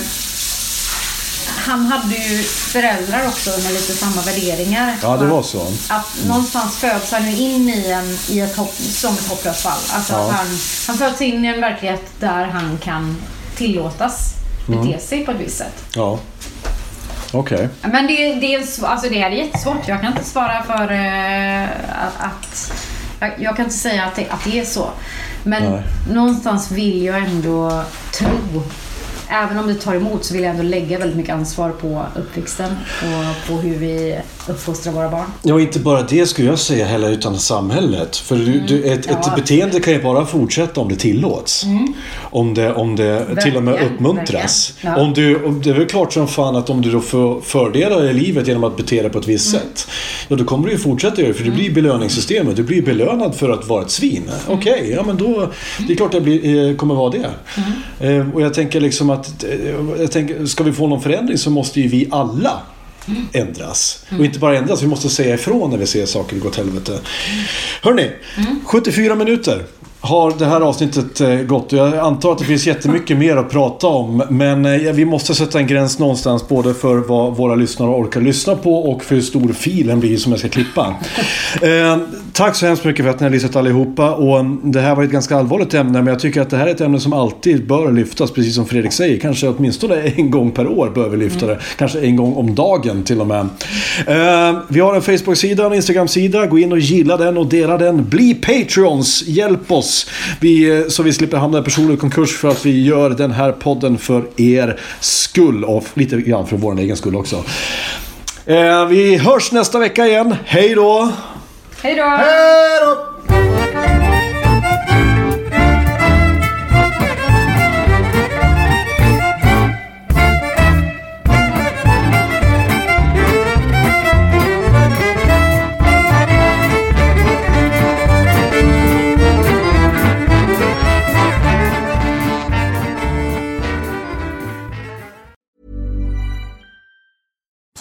han hade ju föräldrar också med lite samma värderingar.
Ja, det var så.
Att någonstans föds han ju in i, en, i ett hopp, som ett hopplöst fall. Alltså
Ja.
att han, han föds in i en verklighet där han kan tillåtas
Mm.
bete sig på ett visst sätt.
Ja. Okej.
Men det, det, är, sv- alltså det här är jättesvårt. Jag kan inte svara för eh, att... att jag, jag kan inte säga att det, att det är så. Men
Nej.
någonstans vill jag ändå tro. Även om det tar emot så vill jag ändå lägga väldigt mycket ansvar på uppväxten och på hur vi uppfostrar våra barn.
Ja, inte bara det skulle jag säga heller, utan samhället. För du, du, ett, ett
Ja. Mm.
beteende kan ju bara fortsätta om det tillåts. Om det, om det till och med
Verkligen,
uppmuntras.
verkligen. Ja.
Om du, om, det är väl klart som fan att om du då får fördelar i livet genom att bete dig på ett visst
Mm.
sätt. Ja, då kommer du ju fortsätta göra det, för det blir belöningssystemet. Du blir belönad för att vara ett svin.
Mm.
Okej, ja men då... Det är klart det blir, eh, kommer vara det.
Mm.
Eh, och jag tänker liksom att... eh, Jag tänker, ska vi få någon förändring så måste ju vi alla
Mm.
ändras. Och inte bara ändras, vi måste säga ifrån när vi ser saker gå åt helvete.
Mm.
Hörni, 74 minuter har det här avsnittet eh, gått. Och Jag antar att det finns jättemycket mer att prata om. Men eh, vi måste sätta en gräns någonstans både för vad våra lyssnare orkar lyssna på och för hur stor filen blir som jag ska klippa. eh, tack så hemskt mycket för att ni har lyssnat allihopa. Och mm, det här var ett ganska allvarligt ämne men jag tycker att det här är ett ämne som alltid bör lyftas. Precis som Fredrik säger, kanske åtminstone en gång per år bör vi lyfta det. Kanske en gång om dagen till och med. Eh, vi har en Facebook-sida och en Instagram-sida. Gå in och gilla den och dela den. Bli Patreons! Hjälp oss! Vi, eh, så vi slipper hamna i personlig konkurs för att vi gör den här podden för er skull. Och lite grann för vår egen skull också. Eh, vi hörs nästa vecka igen. Hej då!
Hej då!
Hej då!